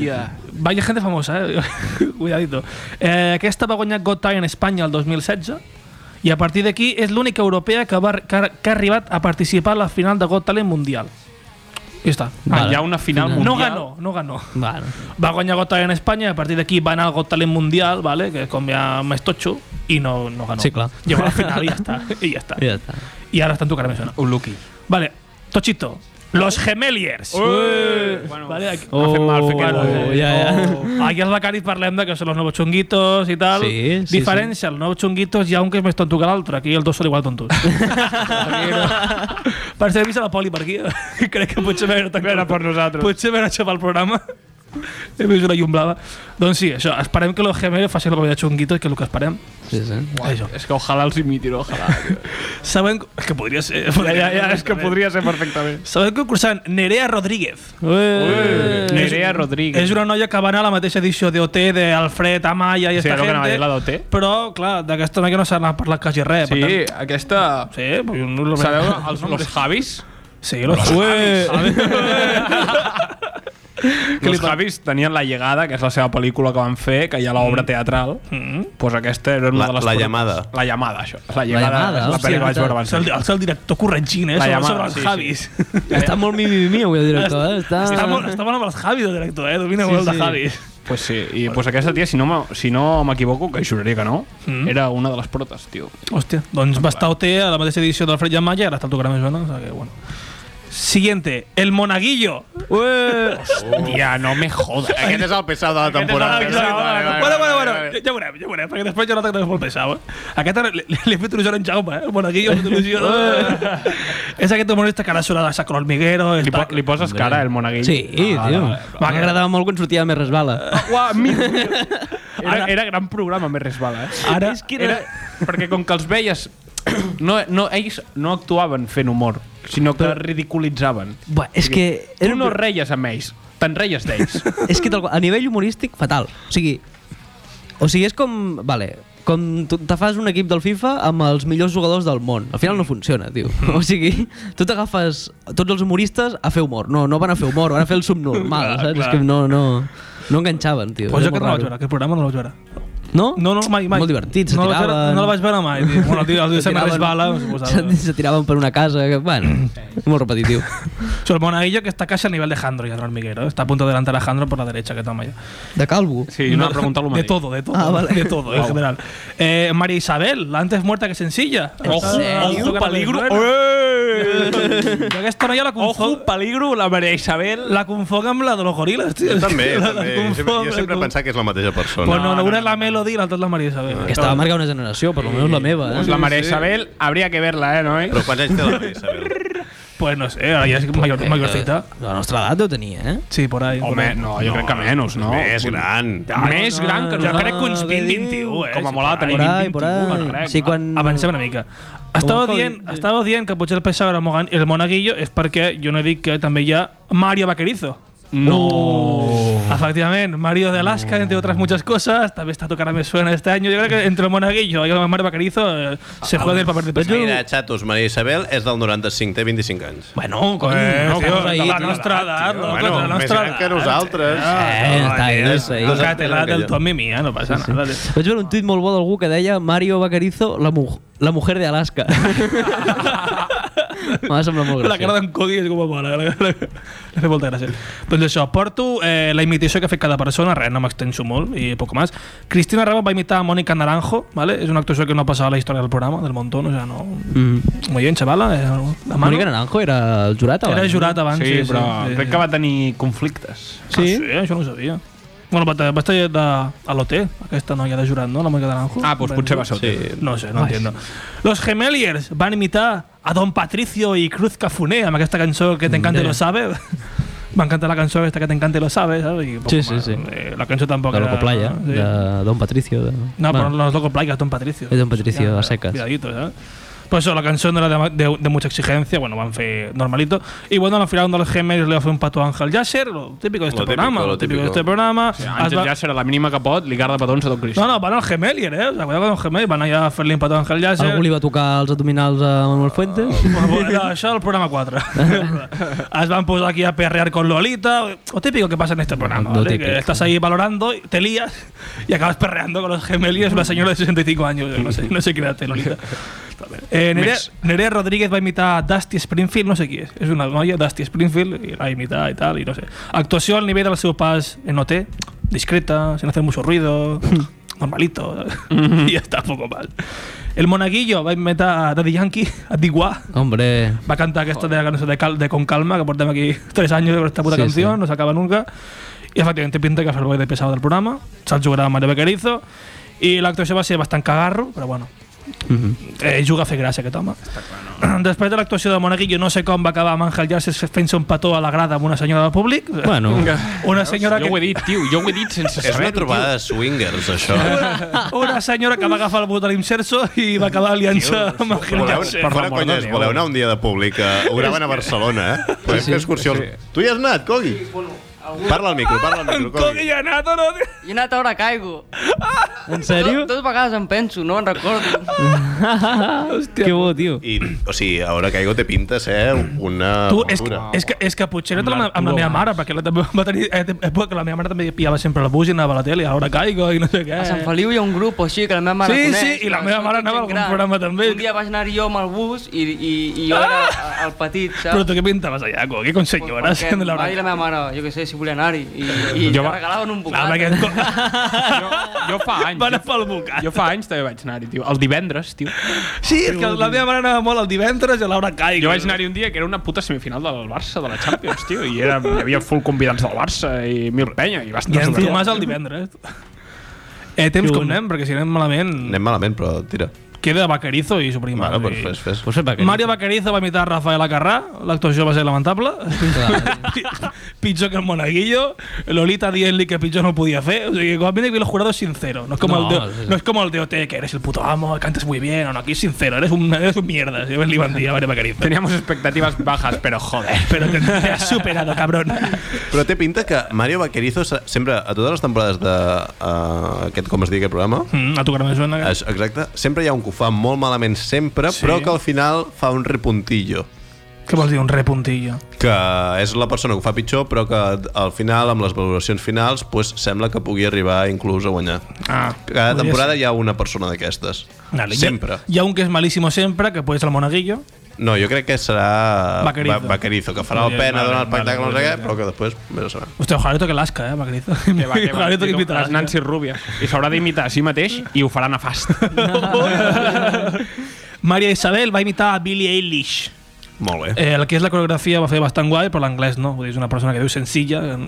[SPEAKER 6] Vaya gente famosa, eh? Cuidadito. Eh, aquesta va guanyar Got Talent Espanya el 2016 i a partir d'aquí és l'única europea que, va, que, ha- que ha arribat a participar a la final de Got Talent mundial. I està.
[SPEAKER 5] Ah,
[SPEAKER 2] Vale.
[SPEAKER 5] hi ha una final mundial.
[SPEAKER 6] No ganó, no ganó.
[SPEAKER 2] Bueno.
[SPEAKER 6] Va guanyar Got Talent Espanya i a partir d'aquí va anar al Got Talent mundial, vale? que és com ja més totxo, i no, no ganó.
[SPEAKER 2] Sí, clar.
[SPEAKER 6] Llegó a la final i ja està. I ja està.
[SPEAKER 2] Ja està.
[SPEAKER 6] I ara estan tocant més una.
[SPEAKER 5] Un lucky. Oh.
[SPEAKER 6] Vale, Tochito. Los Gemeliers.
[SPEAKER 5] Bueno,
[SPEAKER 6] Vale, aquí,
[SPEAKER 2] Oh,
[SPEAKER 5] fet mal, fet que
[SPEAKER 2] bueno,
[SPEAKER 5] no, eh?
[SPEAKER 2] ja, ja.
[SPEAKER 6] Aquí als becaris parlem de que són els nous xunguitos i tal.
[SPEAKER 2] Sí, sí,
[SPEAKER 6] Diferència, els nous xunguitos hi ha un que és més tonto que l'altre. Aquí els dos són igual tontos. per ser vist a la poli per aquí. eh? Crec que potser m'he anat
[SPEAKER 5] Era per nosaltres.
[SPEAKER 6] Potser m'he anat a xapar el programa. He vist una llum blava. Doncs sí, això, esperem que los gemelos facin la poli de xunguitos, que és el que esperem.
[SPEAKER 2] Sí, sí.
[SPEAKER 6] Això.
[SPEAKER 5] És que ojalà els imitin, ojalà.
[SPEAKER 6] Saben... És que podria ser...
[SPEAKER 5] Ja, ja, ja, és que podria ser perfectament.
[SPEAKER 6] Saben concursant Nerea Rodríguez.
[SPEAKER 5] Nerea Rodríguez.
[SPEAKER 6] És una noia que va anar a la mateixa edició d'OT d'Alfred, Amaya i
[SPEAKER 5] Sí,
[SPEAKER 6] esta
[SPEAKER 5] era el que anava a dir,
[SPEAKER 6] gente.
[SPEAKER 5] la d'OT.
[SPEAKER 6] Però, clar, d'aquesta noia no se n'ha parlat quasi res. per
[SPEAKER 5] Sí,
[SPEAKER 6] tant-
[SPEAKER 5] aquesta...
[SPEAKER 6] Sí, pues jo no lo
[SPEAKER 5] Sabeu els noms? Los Javis?
[SPEAKER 6] Sí, los Javis.
[SPEAKER 5] Que els Javis tenien La Llegada, que és la seva pel·lícula que van fer, que hi ha l'obra teatral.
[SPEAKER 6] Mm.
[SPEAKER 5] Pues aquesta era
[SPEAKER 4] La-
[SPEAKER 5] una de les...
[SPEAKER 4] La
[SPEAKER 5] pel·lícules-
[SPEAKER 4] Llamada.
[SPEAKER 5] La Llamada, això. La Llamada,
[SPEAKER 2] Llamada,
[SPEAKER 5] és la
[SPEAKER 2] hòstia,
[SPEAKER 5] pel·lícula que vaig veure abans.
[SPEAKER 6] És el, és el director corregint, eh?
[SPEAKER 5] La
[SPEAKER 6] Sobre,
[SPEAKER 5] llamada,
[SPEAKER 6] sobre els
[SPEAKER 5] sí, sí.
[SPEAKER 6] Javis.
[SPEAKER 2] Està molt mimimi avui el director, eh? Està...
[SPEAKER 6] Està, molt, està molt amb els Javis, el director, eh? Domina molt el de
[SPEAKER 2] sí.
[SPEAKER 6] Javis.
[SPEAKER 5] Pues sí, i pues aquesta tia, si no me- si no m'equivoco, que juraria que no, era una de les protes, tio.
[SPEAKER 6] Hòstia, doncs va estar OT a la mateixa edició del Fred i en Malla, ara està el tocarà més bona, o sigui que, bueno. Siguiente, El Monaguillo. Ué.
[SPEAKER 5] Hòstia, no me jodas.
[SPEAKER 4] Aquest és el pesat de la temporada.
[SPEAKER 6] Bueno, bueno, bueno, ja, ja ho veurem, ja ho veurem, perquè després jo noto que també és molt pesat. Eh? Aquest ara li, li he fet il·lusió a en Jaume, eh? el Monaguillo, el il·lusió. és aquest humorista que ara surt a Sacro Hormiguero.
[SPEAKER 5] Li, po li poses cara, el monaguillo? Ah,
[SPEAKER 2] Sí, tio. Va, que agradava molt quan sortia més resbala.
[SPEAKER 5] Uah, mi... era, era gran programa, més resbala, eh?
[SPEAKER 6] Ara,
[SPEAKER 2] És que
[SPEAKER 5] Era,
[SPEAKER 2] era...
[SPEAKER 5] perquè com que els veies... No, no, ells no actuaven fent humor, sinó que ridiculitzaven.
[SPEAKER 2] Buah, és que...
[SPEAKER 5] Tu
[SPEAKER 2] un
[SPEAKER 5] no
[SPEAKER 2] pro-
[SPEAKER 5] reies amb ells, te'n reies d'ells.
[SPEAKER 2] És que tal qual, a nivell humorístic, fatal. O sigui, O sigui, és com... Vale, com tu- te fas un equip del FIFA amb els millors jugadors del món. Al final no funciona, tio.
[SPEAKER 6] Mm.
[SPEAKER 2] O sigui, tu t'agafes tots els humoristes a fer humor. No, no van a fer humor, van a fer el subnormal,
[SPEAKER 6] Clar,
[SPEAKER 2] saps? És
[SPEAKER 6] clar.
[SPEAKER 2] que no, no, no enganxaven, tio.
[SPEAKER 6] Pues
[SPEAKER 2] Era
[SPEAKER 6] jo que
[SPEAKER 2] molt
[SPEAKER 6] no la vaig
[SPEAKER 2] raro.
[SPEAKER 6] veure, aquest programa no la vaig veure.
[SPEAKER 2] No?
[SPEAKER 6] No, no, mai, mai.
[SPEAKER 2] Molt divertit, se
[SPEAKER 6] no la vaig veure,
[SPEAKER 2] tiraven.
[SPEAKER 6] no la vaig veure mai. Tio. Bueno, tio, el
[SPEAKER 2] Se
[SPEAKER 6] se me
[SPEAKER 2] tiraven-
[SPEAKER 6] resbala.
[SPEAKER 2] Se, se tiraven per una casa, que, bueno, molt repetitiu.
[SPEAKER 6] Sobre el Monaguillo que está casi al nivel de Jandro y Adrián Miguero. Está a punto de adelantar a Jandro por la derecha, que toma ya.
[SPEAKER 2] De calvo.
[SPEAKER 5] Sí, no, preguntar-lo
[SPEAKER 6] De
[SPEAKER 5] mateix.
[SPEAKER 6] todo, de todo.
[SPEAKER 2] Ah, vale.
[SPEAKER 6] De todo, en general. Eh, María Isabel, la antes muerta que sencilla.
[SPEAKER 2] Ojo,
[SPEAKER 5] ojo, peligro. ¡Eh!
[SPEAKER 6] Ya que esta no ya la confon...
[SPEAKER 5] Ojo, peligro, la Maria Isabel.
[SPEAKER 6] La confogan la de los gorilas, tío.
[SPEAKER 4] Jo també,
[SPEAKER 6] La
[SPEAKER 4] també. Jo
[SPEAKER 6] confon
[SPEAKER 4] sempre,
[SPEAKER 6] amb
[SPEAKER 4] jo
[SPEAKER 6] la
[SPEAKER 4] sempre he
[SPEAKER 6] con-
[SPEAKER 4] pensat que és la mateixa persona.
[SPEAKER 6] Pues no,
[SPEAKER 5] No,
[SPEAKER 6] no,
[SPEAKER 5] no,
[SPEAKER 6] una es
[SPEAKER 5] no.
[SPEAKER 6] la Melody y la otra es la María Isabel.
[SPEAKER 2] Aquesta va marcar una generació, per almenys la meva. Eh?
[SPEAKER 5] la Maria Isabel, habría que verla, eh, noi?
[SPEAKER 4] Però quants anys té la Maria Isabel?
[SPEAKER 6] Pues no sé, ahora ya es
[SPEAKER 2] Eh,
[SPEAKER 6] mayor, mayorcita.
[SPEAKER 2] La nostra edat ho tenia, eh?
[SPEAKER 6] Sí, por ahí. por
[SPEAKER 5] Home,
[SPEAKER 6] ahí.
[SPEAKER 5] no, jo crec que menys, no?
[SPEAKER 4] Més gran.
[SPEAKER 5] Més gran que
[SPEAKER 6] Jo
[SPEAKER 5] nosaltres.
[SPEAKER 6] crec que uns 20-21, eh?
[SPEAKER 5] Com a molt ha de tenir
[SPEAKER 2] Por ahí,
[SPEAKER 5] 20,
[SPEAKER 2] por ahí.
[SPEAKER 5] crec.
[SPEAKER 2] Sí, quan...
[SPEAKER 6] Avancem una mica. Estava dient, estava dient que potser el PSOE era el Mogan- el Monaguillo és perquè jo no he dit que també hi ha Mario Vaquerizo. Oh.
[SPEAKER 5] No.
[SPEAKER 6] Efectivament, Mario de Alaska, entre otras muchas cosas, també està tocant a més suena este año. Yo creo que entre el Monaguillo y el Mario Vaquerizo eh, se juega el papel de
[SPEAKER 4] Mira,
[SPEAKER 6] PSOE.
[SPEAKER 4] xatos, Maria Isabel és del 95, té 25 anys.
[SPEAKER 2] Bueno, cony,
[SPEAKER 6] Eh,
[SPEAKER 2] estamos
[SPEAKER 6] tio,
[SPEAKER 2] ahí,
[SPEAKER 6] la
[SPEAKER 2] tio.
[SPEAKER 6] nostra edat, loco, la nostra edat.
[SPEAKER 4] nosaltres.
[SPEAKER 2] Eh, està bé,
[SPEAKER 6] Eh,
[SPEAKER 2] està bé.
[SPEAKER 6] Tócate la del Tommy mía, no passa nada.
[SPEAKER 2] Vaig veure un tuit molt bo d'algú que deia Mario Vaquerizo, la, mu la mujer de Alaska. M'ha semblat molt
[SPEAKER 6] La
[SPEAKER 2] graciós.
[SPEAKER 6] cara d'en Cody és com a mare. La, la, la, la molta gràcia. Doncs això, porto eh, la imitació que ha fet cada persona, res, no m'extenso molt i poc més. Cristina Raba va imitar a Mónica Naranjo, ¿vale? és una actuació que no ha passat a la història del programa, del montón, o sea, no...
[SPEAKER 2] Mm.
[SPEAKER 6] Muy bien, chavala. Eh, la mano.
[SPEAKER 2] Mónica Naranjo eh? era el jurat abans.
[SPEAKER 6] Era jurat abans,
[SPEAKER 5] Sí,
[SPEAKER 6] sí,
[SPEAKER 5] però
[SPEAKER 6] sí, Ah,
[SPEAKER 5] crec que va tenir conflictes.
[SPEAKER 6] Sí. Ah, sí, això no ho sabia. Bueno, va, va estar de, a l'OT, aquesta noia de jurat, no? La Mónica Naranjo.
[SPEAKER 5] Ah, doncs potser va ser
[SPEAKER 4] Sí.
[SPEAKER 6] No sé, no entiendo. Los Gemeliers van imitar a Don Patricio i Cruz Cafuné amb aquesta cançó que t'encanta i lo sabe. M'encanta la cançó aquesta que t'encanta i lo sabe, saps? I,
[SPEAKER 2] Sí,
[SPEAKER 6] poco
[SPEAKER 2] sí,
[SPEAKER 6] más.
[SPEAKER 2] sí.
[SPEAKER 6] Eh, la cançó tampoc
[SPEAKER 2] De Loco Playa,
[SPEAKER 6] Sí.
[SPEAKER 2] de Don Patricio. De...
[SPEAKER 6] No,
[SPEAKER 2] Bueno,
[SPEAKER 6] però no és Loco Playa, és Don Patricio.
[SPEAKER 2] És Don Patricio, a seques.
[SPEAKER 6] Cuidadito, ¿sabes? Pues eso, la canción no era de, de- de mucha exigencia, bueno, van fe normalito. Y bueno, al final uno de los Gemeliers le hace un pato a Ángel Yasser, lo típico de este
[SPEAKER 4] Lo típico,
[SPEAKER 6] programa.
[SPEAKER 4] lo
[SPEAKER 6] Lo típico, de
[SPEAKER 4] típico.
[SPEAKER 6] este programa. Has
[SPEAKER 5] Àngel
[SPEAKER 6] va-
[SPEAKER 5] ja serà la mínima que pot, li garda petons a tot Cristo.
[SPEAKER 6] No, no, van al Gemelier, ¿eh? O sea, cuidado con los Gemeliers, van allá a hacerle un pato a Ángel Yasser.
[SPEAKER 2] Algú li va tocar els abdominals a Manuel Fuentes?
[SPEAKER 6] Bueno, bueno, això del programa 4. Has van posar aquí a perrear con Lolita. Lo típico que pasa en este programa,
[SPEAKER 2] Lo
[SPEAKER 6] ¿vale?
[SPEAKER 2] típico.
[SPEAKER 6] Que estás ahí valorando, te lías y acabas perreando con los gemelios una señora de 65 años. No sé, no sé qué edad té Lolita. Eh, Nerea, Nerea Rodríguez va a imitar a Dusty Springfield, no sé qui és. És una noia, Dusty Springfield, i la imita i tal, i no sé. Actuació al nivell del seu pas en OT, discreta, sin hacer mucho ruido, normalito, y ya está, poco mal. El Monaguillo va imitar a Daddy Yankee, a Diguá,
[SPEAKER 2] Hombre,
[SPEAKER 6] va a cantar aquesta de la cançó de, cal, de Con Calma, que portem aquí tres anys con esta puta
[SPEAKER 2] Sí,
[SPEAKER 6] canción,
[SPEAKER 2] sí.
[SPEAKER 6] no se acaba nunca. I efectivament té pinta que és el boi de pesado del programa, se'l jugarà Mario Bequerizo, i l'actuació va ser bastant cagarro, però bueno, eh, juga a fer gràcia aquest home. No? Després de l'actuació de Monaguillo, no sé com va acabar amb Ángel Llaces fent-se un petó a la grada amb una senyora del públic.
[SPEAKER 2] bueno.
[SPEAKER 6] Una senyora
[SPEAKER 5] Jo ho he
[SPEAKER 6] que,
[SPEAKER 5] dit, tio, jo ho he dit sense
[SPEAKER 4] És una
[SPEAKER 5] saber.
[SPEAKER 4] trobada de swingers, això.
[SPEAKER 6] una senyora que va agafar el bot a l'Imserso i va acabar aliança amb Ángel
[SPEAKER 4] Voleu,
[SPEAKER 6] Llaces.
[SPEAKER 4] fora conyes, voleu anar un dia de públic eh, ho graven a Barcelona, eh? Podem fer excursions. Tu hi has anat, Cogui? Parla al micro, parla al micro,
[SPEAKER 6] Cogui
[SPEAKER 4] Cogui.
[SPEAKER 6] ja ha anat o no? tio?
[SPEAKER 8] I he anat a veure Caigo.
[SPEAKER 2] En sèrio?
[SPEAKER 8] Tot- Totes vegades em penso, no me'n recordo.
[SPEAKER 2] Que bo, tio.
[SPEAKER 4] I, o sigui, a veure, Caigo té pinta de ser una
[SPEAKER 6] Tu, és, que,
[SPEAKER 4] aventura.
[SPEAKER 6] és, que, és que potser era amb, la- amb la
[SPEAKER 5] L'Arturo
[SPEAKER 6] meva mare, perquè la, també va tenir eh, època que la meva mare també pillava sempre el bus i anava a la tele, i ara caigo i no sé què.
[SPEAKER 8] A Sant Feliu hi ha un grup o així que la meva mare
[SPEAKER 6] Sí,
[SPEAKER 8] coneix.
[SPEAKER 6] sí, i la
[SPEAKER 8] que
[SPEAKER 6] meva
[SPEAKER 8] són
[SPEAKER 6] mare
[SPEAKER 8] tot gent
[SPEAKER 6] anava a algun
[SPEAKER 8] gran.
[SPEAKER 6] programa també. Ah!
[SPEAKER 8] Un dia vaig anar jo amb el bus i, i, i jo era el petit, saps?
[SPEAKER 6] Però tu què pintaves allà, Coqui, com senyores?
[SPEAKER 8] perquè
[SPEAKER 6] de
[SPEAKER 8] em
[SPEAKER 6] la
[SPEAKER 8] va dir la meva
[SPEAKER 6] Branca?
[SPEAKER 8] mare, jo què sé, si volia anar-hi. I, i
[SPEAKER 5] Jo
[SPEAKER 8] jo
[SPEAKER 5] va-
[SPEAKER 8] regalaven un
[SPEAKER 6] Clar,
[SPEAKER 8] bocat.
[SPEAKER 6] Ah, perquè en co-
[SPEAKER 5] Jo, jo fa anys.
[SPEAKER 6] Van a
[SPEAKER 5] jo-
[SPEAKER 6] pel bocat.
[SPEAKER 5] Jo fa anys també vaig anar-hi, tio. Els divendres, tio.
[SPEAKER 6] Sí, és que la meva mare anava molt el divendres i a l'hora caigo.
[SPEAKER 5] Jo vaig anar-hi un dia que era una puta semifinal del Barça, de la Champions, tio, i era, hi havia full convidats del Barça i mil penya, i va
[SPEAKER 6] I
[SPEAKER 5] estar
[SPEAKER 6] en
[SPEAKER 5] superbé.
[SPEAKER 6] Tomàs el divendres. Eh, temps com anem, perquè si anem malament...
[SPEAKER 4] Anem malament, però tira.
[SPEAKER 6] queda Vaquerizo i Supreme.
[SPEAKER 4] Bueno,
[SPEAKER 6] O sigui,
[SPEAKER 4] pues fes, fes.
[SPEAKER 2] Pues sepa que...
[SPEAKER 6] Mario Vaquerizo va imitar Rafael Acarrà, l'actuació va ser lamentable, pitjor que el Monaguillo, Lolita dient-li que pitjor no podia fer, o sigui, com a mínim los jurados sincero, no es como,
[SPEAKER 2] No,
[SPEAKER 6] el,
[SPEAKER 2] sí,
[SPEAKER 6] de,
[SPEAKER 2] sí.
[SPEAKER 6] no es como el DOT, que eres el puto amo, cantas muy bien, no, no, aquí es sincero, eres un, eres un mierda, si ves li van dir a Mario Vaquerizo.
[SPEAKER 5] Teníamos expectativas bajas, pero joder.
[SPEAKER 6] Pero te, te has superado, cabrón.
[SPEAKER 4] Però té pinta que Mario Vaquerizo se- sempre, a totes les temporades de uh, aquest, com es diu aquest programa,
[SPEAKER 6] Mm, a tu que no me suena. que-
[SPEAKER 4] això, exacte, sempre hi ha un que ho fa molt malament sempre,
[SPEAKER 6] Sí.
[SPEAKER 4] sí. però que al final fa un repuntillo.
[SPEAKER 6] Què vols dir, un repuntillo?
[SPEAKER 4] que és la persona que ho fa pitjor però que al final, amb les valoracions finals pues, sembla que pugui arribar inclús a guanyar
[SPEAKER 6] Ah,
[SPEAKER 4] cada
[SPEAKER 6] podria
[SPEAKER 4] temporada hi ha una persona d'aquestes
[SPEAKER 6] Dale,
[SPEAKER 4] sempre
[SPEAKER 6] Y, y aunque es malísimo siempre, que puede ser el monaguillo.
[SPEAKER 4] no, jo crec que serà
[SPEAKER 6] Vaquerizo.
[SPEAKER 4] Va- Vaquerizo que farà
[SPEAKER 6] Molt
[SPEAKER 4] el
[SPEAKER 6] bé,
[SPEAKER 4] pena
[SPEAKER 6] vale,
[SPEAKER 4] donar el
[SPEAKER 6] vale,
[SPEAKER 4] espectacle no sé què,
[SPEAKER 6] vale.
[SPEAKER 4] però que després més serà
[SPEAKER 6] Hostia, ojalá toque Alaska, eh, Vaquerizo.
[SPEAKER 5] Que va, que va.
[SPEAKER 6] Ojalá toque
[SPEAKER 5] Diu,
[SPEAKER 6] imitar a
[SPEAKER 5] les Nancy Rubia. I s'haurà d'imitar a si mateix i ho farà nefast.
[SPEAKER 6] María Isabel va a imitar a Billie Eilish.
[SPEAKER 4] molt bé
[SPEAKER 6] Eh, el que es la coreografía va a ser bastante guay, pero el inglés no. Vull dir, Es una persona que viu sencilla. le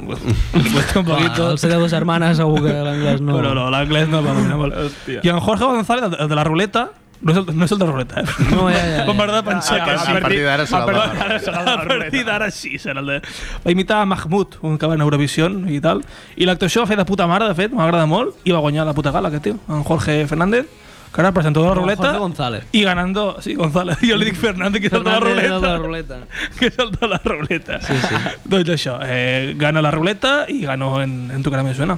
[SPEAKER 6] Cuesta un
[SPEAKER 2] Va,
[SPEAKER 6] poquito.
[SPEAKER 2] Ah, el ser de dues hermanes segur que l'anglès no...
[SPEAKER 6] Però no, l'anglès no va dominar molt. I en Jorge González, el de la ruleta, no és el, no és el de la ruleta, eh?
[SPEAKER 2] No, ja, ja, ja.
[SPEAKER 6] Com m'agrada pensar
[SPEAKER 4] Ah,
[SPEAKER 6] que...
[SPEAKER 4] a partir d'ara serà el de la ruleta.
[SPEAKER 6] A partir d'ara sí serà el de... Va imitar a Mahmoud, un que va en Eurovisió i tal, i l'actuació va fer de puta mare, de fet, m'agrada molt, i va guanyar la puta gala, aquest tio, en Jorge Fernández, que ara presentó la ruleta
[SPEAKER 2] Jorge González.
[SPEAKER 6] i ganando, sí, González, jo li dic Fernández, que és el de Tota la
[SPEAKER 2] Fernández era el de tota la ruleta.
[SPEAKER 6] ruleta que és el de la ruleta. Sí, sí. doncs això, eh, gana la ruleta i gano en, en Tocarà més suena.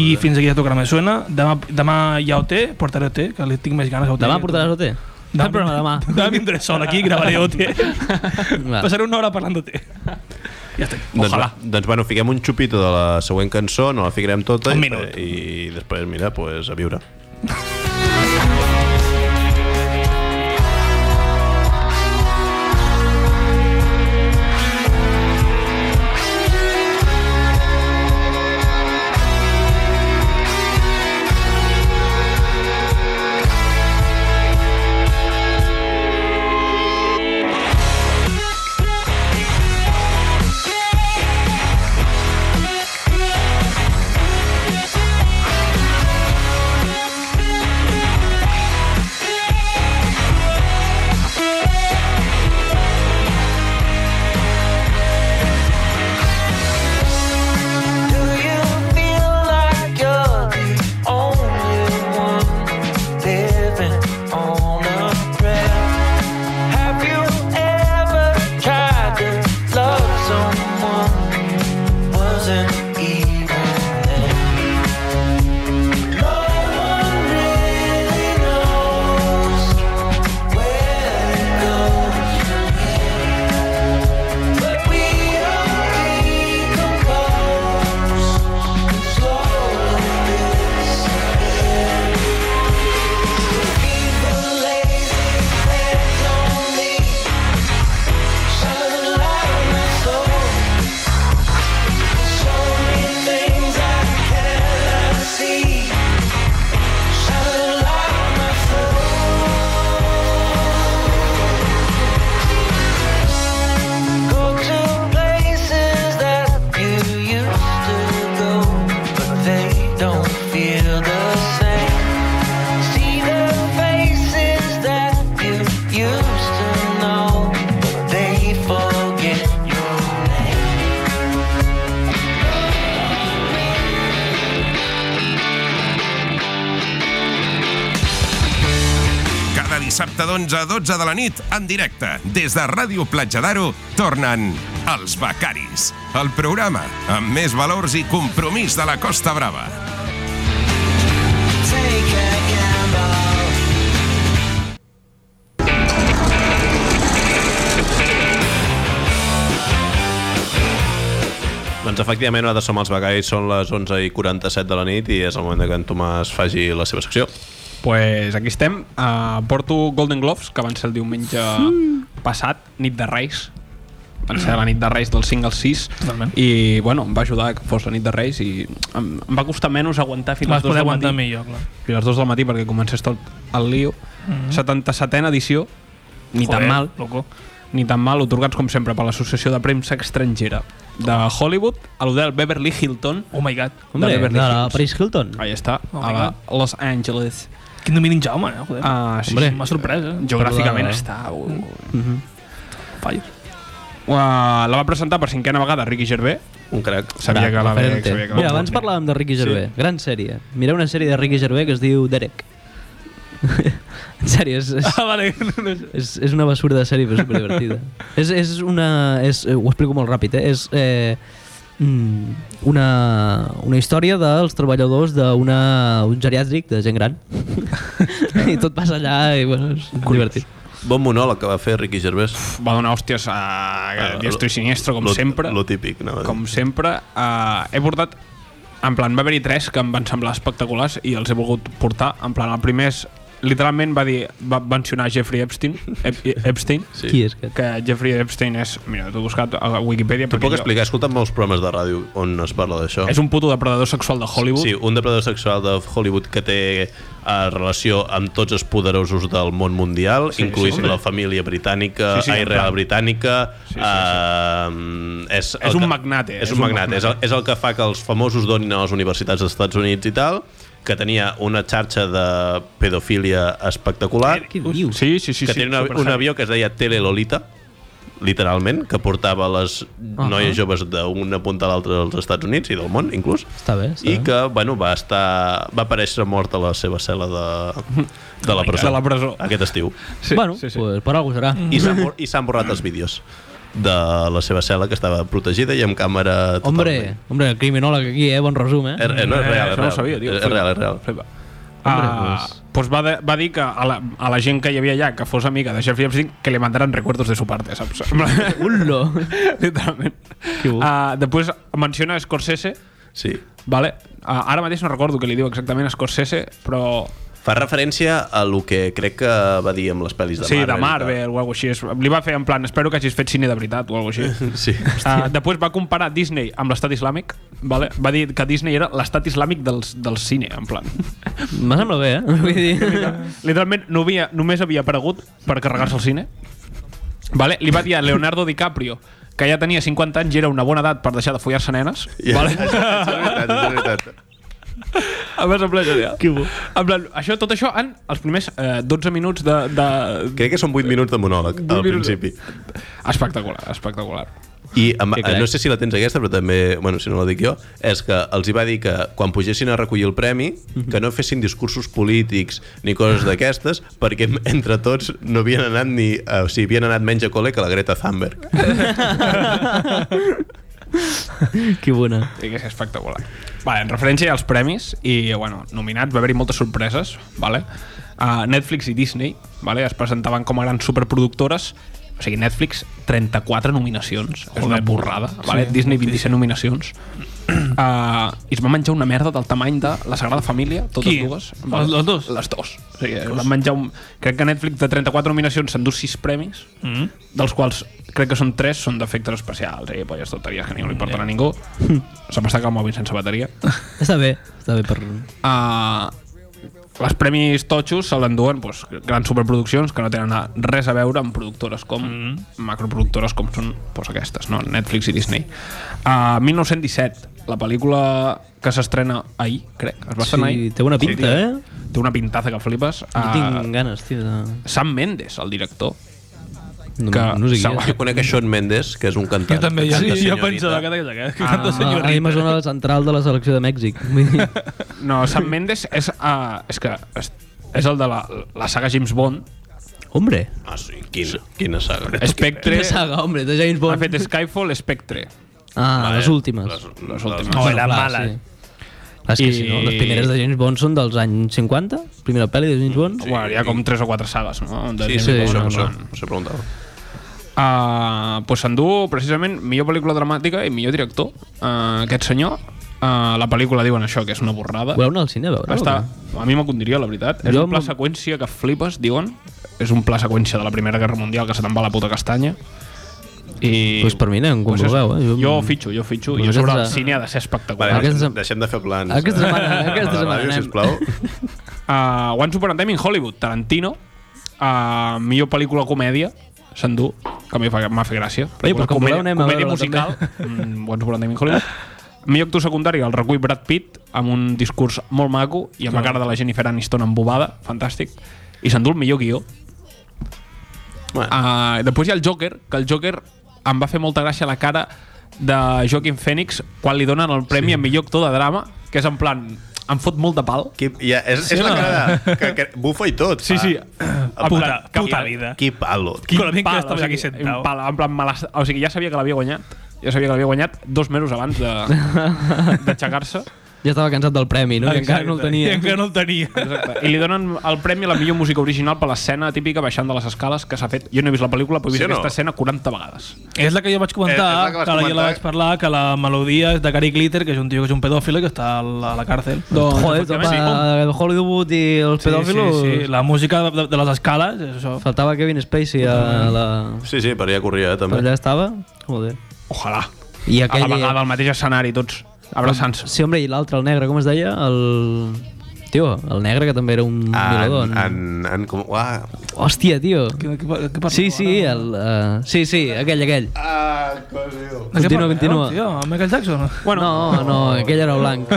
[SPEAKER 6] I fins aquí a Tocarà més suena. Demà, demà hi ha OT, portaré OT, que li tinc més ganes a OT.
[SPEAKER 2] Demà portaràs OT? Demà, el programa demà.
[SPEAKER 6] Demà vindré sol aquí i gravaré OT.
[SPEAKER 2] Va.
[SPEAKER 6] Passaré una hora parlant d'OT. ja està. Ojalà.
[SPEAKER 4] Doncs, doncs bueno, fiquem un xupito de la següent cançó, no la ficarem tota
[SPEAKER 6] Un
[SPEAKER 4] i-
[SPEAKER 6] minut.
[SPEAKER 4] i després, mira, pues, a viure.
[SPEAKER 3] Cada dissabte d'11 a 12 de la nit, en directe, des de Ràdio Platja d'Aro, tornen Els Becaris, el programa amb més valors i compromís de la Costa Brava.
[SPEAKER 4] Doncs efectivament, nosaltres som els Becais, són les 11 i 47 de la nit i és el moment de que en Tomàs faci la seva secció.
[SPEAKER 5] pues aquí estem. Uh, porto Golden Gloves, que van ser el diumenge passat, nit de Reis. Van ser la nit de Reis del 5 al 6.
[SPEAKER 6] Totalment.
[SPEAKER 5] I, bueno, em va ajudar que fos la nit de Reis i em, em va costar menys aguantar fins
[SPEAKER 6] Vas
[SPEAKER 5] les 2
[SPEAKER 6] poder
[SPEAKER 5] del
[SPEAKER 6] aguantar
[SPEAKER 5] matí.
[SPEAKER 6] millor, clar.
[SPEAKER 5] Fins les 2 del matí perquè comencés tot el lío. Mm -hmm. 77a edició, ni tan
[SPEAKER 6] Mm-hmm. Joder,
[SPEAKER 5] mal.
[SPEAKER 6] Loco.
[SPEAKER 5] ni tan mal, otorgats com sempre per l'Associació de Premsa Estrangera de Hollywood a l'hotel Beverly Hilton
[SPEAKER 6] Oh my god.
[SPEAKER 5] de
[SPEAKER 2] Hombre, de
[SPEAKER 5] Beverly
[SPEAKER 2] la
[SPEAKER 5] Hills.
[SPEAKER 2] Paris Hilton.
[SPEAKER 5] Ahí està,
[SPEAKER 6] Oh
[SPEAKER 5] a
[SPEAKER 6] my
[SPEAKER 5] la Los Angeles.
[SPEAKER 6] Quin domini en Jaume, eh? Joder.
[SPEAKER 5] Ah, sí,
[SPEAKER 6] Hombre,
[SPEAKER 5] sí.
[SPEAKER 6] M'ha sorprès, eh?
[SPEAKER 5] Geogràficament
[SPEAKER 2] Rodada.
[SPEAKER 5] està... Uh,
[SPEAKER 6] Fire.
[SPEAKER 5] la va presentar per cinquena vegada Ricky Gervais.
[SPEAKER 4] Un crac.
[SPEAKER 5] Sabia que la veia,
[SPEAKER 2] Referente.
[SPEAKER 5] sabia que
[SPEAKER 2] Mira, abans parlàvem de Ricky Gervais. Gran sèrie. Mireu una sèrie de Ricky Gervais que es diu Derek. en sèrio, és, és,
[SPEAKER 6] Ah, vale. No sé.
[SPEAKER 2] és, és una basura de sèrie, però superdivertida. és, és una... És, eh, ho explico molt ràpid, eh? És... Eh, mm, una, una història dels treballadors d'un geriàtric de gent gran i tot passa allà i bueno, és divertit
[SPEAKER 4] Bon monòleg que va fer Ricky Gervais.
[SPEAKER 5] Va donar hòsties a diestro i siniestro, com
[SPEAKER 4] lo,
[SPEAKER 5] sempre.
[SPEAKER 4] Lo típic, anava a dir.
[SPEAKER 5] Com sempre. eh, he portat... En plan, va haver-hi tres que em van semblar espectaculars i els he volgut portar. En plan, el primer és... Literalment va dir... Va mencionar Jeffrey Epstein. Ep, Epstein.
[SPEAKER 4] Sí.
[SPEAKER 2] qui és aquest?
[SPEAKER 5] Que Jeffrey Epstein és... Mira, t'ho he buscat a Wikipedia.
[SPEAKER 4] T'ho
[SPEAKER 5] perquè
[SPEAKER 4] puc
[SPEAKER 5] jo-
[SPEAKER 4] explicar? He escoltat molts programes de ràdio on es parla d'això.
[SPEAKER 5] És un puto depredador sexual de Hollywood.
[SPEAKER 4] Sí, un depredador sexual de Hollywood que té eh, relació amb tots els poderosos del món mundial,
[SPEAKER 5] Sí,
[SPEAKER 4] sí, incluït
[SPEAKER 5] sí,
[SPEAKER 4] sí,
[SPEAKER 5] sí.
[SPEAKER 4] sí. la família britànica, sí,
[SPEAKER 5] Sí,
[SPEAKER 4] sí,
[SPEAKER 5] sí, en
[SPEAKER 4] Israel
[SPEAKER 5] plan.
[SPEAKER 4] britànica...
[SPEAKER 5] Sí, sí, sí.
[SPEAKER 4] eh, és, el
[SPEAKER 5] És un magnate,
[SPEAKER 4] És, un magnate. És el, és el que fa que els famosos donin a les universitats dels Estats Units i tal, que tenia una xarxa de pedofilia espectacular
[SPEAKER 2] Què dius?
[SPEAKER 5] Sí, sí, sí.
[SPEAKER 4] que
[SPEAKER 5] sí,
[SPEAKER 4] tenia una, un
[SPEAKER 5] superhard.
[SPEAKER 4] avió que es deia Telelolita, literalment, que portava les noies joves d'una punta a l'altra dels Estats Units i del món, inclús.
[SPEAKER 2] Està bé, està
[SPEAKER 4] I
[SPEAKER 2] bé.
[SPEAKER 4] que, bueno, va estar... va aparèixer mort a la seva cel·la de, de la presó. Ah,
[SPEAKER 5] Oh De la presó.
[SPEAKER 4] Aquest estiu.
[SPEAKER 5] Sí,
[SPEAKER 2] bueno,
[SPEAKER 5] sí, Mm. sí.
[SPEAKER 2] Pues, per alguna serà
[SPEAKER 4] I s'han bor- i s'han borrat els vídeos de la seva cel·la, que estava protegida i amb càmera... totalment.
[SPEAKER 2] Hombre, hombre, el criminòleg aquí, eh? Bon resum, eh?
[SPEAKER 4] Eh, eh, no, és real, és
[SPEAKER 5] Això
[SPEAKER 4] real.
[SPEAKER 5] no ho sabia, tio.
[SPEAKER 4] És real, és real.
[SPEAKER 5] Flipa.
[SPEAKER 2] Hombre,
[SPEAKER 5] Ah,
[SPEAKER 2] pues-
[SPEAKER 5] pues va, de, va dir que a la, a la gent que hi havia allà que fos amiga de Jeffrey Epstein que li mandaran recuerdos de su parte, saps? En plan,
[SPEAKER 2] Ullo!
[SPEAKER 5] Literalment.
[SPEAKER 2] Que bo.
[SPEAKER 5] Uh, després menciona Scorsese,
[SPEAKER 4] Sí.
[SPEAKER 5] vale? Uh, ara mateix no recordo què li diu exactament a Scorsese, però...
[SPEAKER 4] Fa referència a lo que crec que va dir amb les pel·lis de
[SPEAKER 5] sí,
[SPEAKER 4] Marvel.
[SPEAKER 5] de
[SPEAKER 4] i tal.
[SPEAKER 5] Marvel o alguna cosa així. Es- Li va fer en plan, espero que hagis fet cine de veritat o alguna cosa
[SPEAKER 4] Sí.
[SPEAKER 5] així. Uh, després va comparar Disney amb l'estat islàmic vale? va dir que Disney era l'estat islàmic dels, del cine, en plan
[SPEAKER 2] M'ha semblat bé, eh? Vull dir...
[SPEAKER 4] Ah.
[SPEAKER 5] Literalment no havia, només havia aparegut per carregar-se al cine. Vale? Li va dir a Leonardo DiCaprio que ja tenia 50 anys i era una bona edat per deixar de follar-se nenes.
[SPEAKER 4] Ja,
[SPEAKER 5] Vale?
[SPEAKER 4] és veritat, és veritat.
[SPEAKER 5] Em va semblar genial. Que bo. En plan, això, tot això en els primers eh, 12 minuts de... de...
[SPEAKER 4] Crec que són 8 minuts de monòleg, al
[SPEAKER 5] minuts.
[SPEAKER 4] principi.
[SPEAKER 5] Espectacular, espectacular.
[SPEAKER 4] I amb,
[SPEAKER 2] Que crac.
[SPEAKER 4] no sé si la tens aquesta, però també, bueno, si no la dic jo, és que els hi va dir que quan pugessin a recollir el premi, que no fessin discursos polítics ni coses d'aquestes, perquè em- entre tots no havien anat ni... eh, O sigui, havien anat menys a col·le que la Greta Thunberg.
[SPEAKER 2] que bona.
[SPEAKER 5] Sí que és espectacular. Vale, en referència als premis, i bueno, nominats, va haver-hi moltes sorpreses, vale? Uh, Netflix i Disney vale? es presentaven com a grans superproductores, o sigui, Netflix, 34 nominacions, és una borrada, vale? Disney, 27 nominacions.
[SPEAKER 6] Mm.
[SPEAKER 5] Uh, I es va menjar una merda del tamany de La Sagrada Família, totes
[SPEAKER 6] Qui?
[SPEAKER 5] dues.
[SPEAKER 6] Els- les dos?
[SPEAKER 5] Les dos. O sigui, es van menjar un... Crec que Netflix de 34 nominacions s'endú 6 premis,
[SPEAKER 6] Mm.
[SPEAKER 5] dels quals crec que són tres són d'efectes especials i eh? polles tonteries que ningú
[SPEAKER 6] Mm.
[SPEAKER 5] li importen a ningú se m'ha estat el mòbil sense bateria
[SPEAKER 2] Està bé, està bé per...
[SPEAKER 5] uh, els premis totxos se l'enduen pues, grans superproduccions que no tenen a- res a veure amb productores com mm. macroproductores com són pues, aquestes, no? Netflix i Disney uh, 1917 la pel·lícula que s'estrena ahir, crec, es va estrenar ahir
[SPEAKER 2] té bona pinta,
[SPEAKER 5] tio.
[SPEAKER 2] eh?
[SPEAKER 5] té una pintaza que flipes uh,
[SPEAKER 2] No tinc ganes, tio. De...
[SPEAKER 5] Sam Mendes, el director
[SPEAKER 2] No,
[SPEAKER 5] que
[SPEAKER 2] no sé qui
[SPEAKER 5] segur-
[SPEAKER 2] és.
[SPEAKER 4] Jo conec a Shawn Mendes, que és un cantant.
[SPEAKER 6] Jo també, jo,
[SPEAKER 4] Canta
[SPEAKER 6] sí, jo
[SPEAKER 4] senyorita.
[SPEAKER 6] pensava que era aquest, que
[SPEAKER 5] Ah.
[SPEAKER 6] canta
[SPEAKER 2] Ah, a mi
[SPEAKER 6] senyorita.
[SPEAKER 2] m'ha sonat el central de la selecció de Mèxic. Vull dir,
[SPEAKER 5] No, Sam Mendes és, uh, és que és, és el de la, la saga James Bond.
[SPEAKER 2] Hombre,
[SPEAKER 4] Ah, sí, quina, quina saga.
[SPEAKER 5] Spectre...
[SPEAKER 2] quina saga, hombre, de James
[SPEAKER 5] Ha
[SPEAKER 2] Bond.
[SPEAKER 5] fet Skyfall, Spectre.
[SPEAKER 2] Ah, les últimes.
[SPEAKER 4] Les, les
[SPEAKER 5] últimes.
[SPEAKER 4] últimes.
[SPEAKER 5] No,
[SPEAKER 2] Bueno,
[SPEAKER 6] eren
[SPEAKER 2] clar,
[SPEAKER 6] males.
[SPEAKER 2] sí. Clar, és que si no,
[SPEAKER 5] I-
[SPEAKER 2] les primeres de James Bond són dels anys 50, primera pel·li de James Bond.
[SPEAKER 5] Sí. Bueno, hi ha com tres o quatre sagues, no? De
[SPEAKER 4] Sí,
[SPEAKER 5] James
[SPEAKER 4] sí,
[SPEAKER 5] Bond,
[SPEAKER 4] això,
[SPEAKER 5] en
[SPEAKER 4] això,
[SPEAKER 5] plan.
[SPEAKER 4] això preguntava.
[SPEAKER 5] Ah, pues s'endú precisament millor pel·lícula dramàtica i millor director. Ah, aquest senyor, Ah, la pel·lícula diuen això, que és una borrada.
[SPEAKER 2] Voleu anar al cine a veure?
[SPEAKER 5] Està, a mi m'acondiria, la veritat. És
[SPEAKER 2] Jo
[SPEAKER 5] un pla
[SPEAKER 2] em-
[SPEAKER 5] seqüència que flipes, diuen. És un pla seqüència de la Primera Guerra Mundial que se te'n va a la puta castanya. I...
[SPEAKER 2] Pues per mi anem, com
[SPEAKER 5] és-
[SPEAKER 2] vulgueu, eh?
[SPEAKER 5] Jo,
[SPEAKER 2] Jo-
[SPEAKER 5] fitxo, jo fitxo.
[SPEAKER 2] Pues
[SPEAKER 5] Jo sobre el
[SPEAKER 2] aquesta-
[SPEAKER 5] cine ha de ser espectacular.
[SPEAKER 4] Vale,
[SPEAKER 2] Aquesta-
[SPEAKER 4] deixem de fer plans.
[SPEAKER 2] aquesta
[SPEAKER 4] eh,
[SPEAKER 2] setmana-
[SPEAKER 4] a la
[SPEAKER 2] aquesta setmana
[SPEAKER 4] ràdio,
[SPEAKER 2] anem.
[SPEAKER 4] sisplau.
[SPEAKER 5] Uh, Once Upon a Time in Hollywood, Tarantino. Uh, millor pel·lícula comèdia, s'endú, que a mi fa- m'ha fet gràcia.
[SPEAKER 2] Ei, pues com
[SPEAKER 5] comèdia,
[SPEAKER 2] voleu anem a
[SPEAKER 5] comèdia
[SPEAKER 2] veure-la
[SPEAKER 5] musical, mm, Once Upon a Time in Hollywood. millor actor secundari el recull Brad Pitt amb un discurs molt maco i amb la cara de la Jennifer Aniston embobada, fantàstic, i s'endú el millor guió.
[SPEAKER 4] Bueno.
[SPEAKER 5] Uh, després hi ha el Joker, que el Joker em va fer molta gràcia la cara de Joaquin Phoenix quan li donen el premi sí. a millor actor de drama, que és en plan, em fot molt de pal.
[SPEAKER 4] Qui, ja, és, és la cara que, que bufa i tot.
[SPEAKER 5] Sí, sí. eh?
[SPEAKER 4] Ah,
[SPEAKER 6] Puta,
[SPEAKER 5] que-
[SPEAKER 6] puta vida.
[SPEAKER 4] Qui palo.
[SPEAKER 6] Qui- Con la mica que
[SPEAKER 5] pal,
[SPEAKER 6] estaves aquí sentado.
[SPEAKER 5] un pal, en plan, me l'has- o sigui, ja sabia que l'havia guanyat. Ja sabia que l'havia guanyat dos mesos abans de- d'aixecar-se.
[SPEAKER 2] Ja estava cansat del premi, no? I encara no el tenia.
[SPEAKER 6] I encara no el tenia.
[SPEAKER 5] Exacte. I li donen el premi a la millor música original per l'escena típica baixant de les escales que s'ha fet. Jo no he vist la pel·lícula, però he vist
[SPEAKER 4] Sí o
[SPEAKER 5] sí,
[SPEAKER 4] no?
[SPEAKER 5] aquesta escena 40 vegades.
[SPEAKER 6] És la que jo vaig comentar,
[SPEAKER 4] Eh, és la que
[SPEAKER 6] que,
[SPEAKER 4] vas
[SPEAKER 6] la, jo la
[SPEAKER 4] comentar.
[SPEAKER 6] vaig parlar, que la melodia és de Gary Glitter, que és un tio que és un pedòfil i que està a la, a la càrcel.
[SPEAKER 2] Doncs, joder,
[SPEAKER 5] efectivament, sí.
[SPEAKER 2] topa, el Hollywood i els
[SPEAKER 6] Sí, sí,
[SPEAKER 2] pedòfilos...
[SPEAKER 6] sí, la música de, de les escales és això.
[SPEAKER 2] Faltava Kevin Spacey a la...
[SPEAKER 4] Sí, sí, per allà corria, eh,
[SPEAKER 2] Però
[SPEAKER 4] també.
[SPEAKER 2] allà estava? Joder.
[SPEAKER 5] Ojalà.
[SPEAKER 2] I
[SPEAKER 5] A
[SPEAKER 2] aquell...
[SPEAKER 5] la vegada, al mateix escenari, tots abraçant-se.
[SPEAKER 2] Sí, home, i l'altre, el negre, com es deia? El... Tio, el negre, que també era un violador.
[SPEAKER 4] En, en, en, com, uah,
[SPEAKER 2] Hòstia, tio.
[SPEAKER 6] Què, què, què parleu
[SPEAKER 2] Sí, sí,
[SPEAKER 6] ara?
[SPEAKER 2] el, uh, sí, sí, aquell, aquell.
[SPEAKER 6] De què
[SPEAKER 2] Continua,
[SPEAKER 6] parleu,
[SPEAKER 2] continua.
[SPEAKER 6] Tio, amb Michael Jackson.
[SPEAKER 2] Bueno, no, no, aquell era blanc.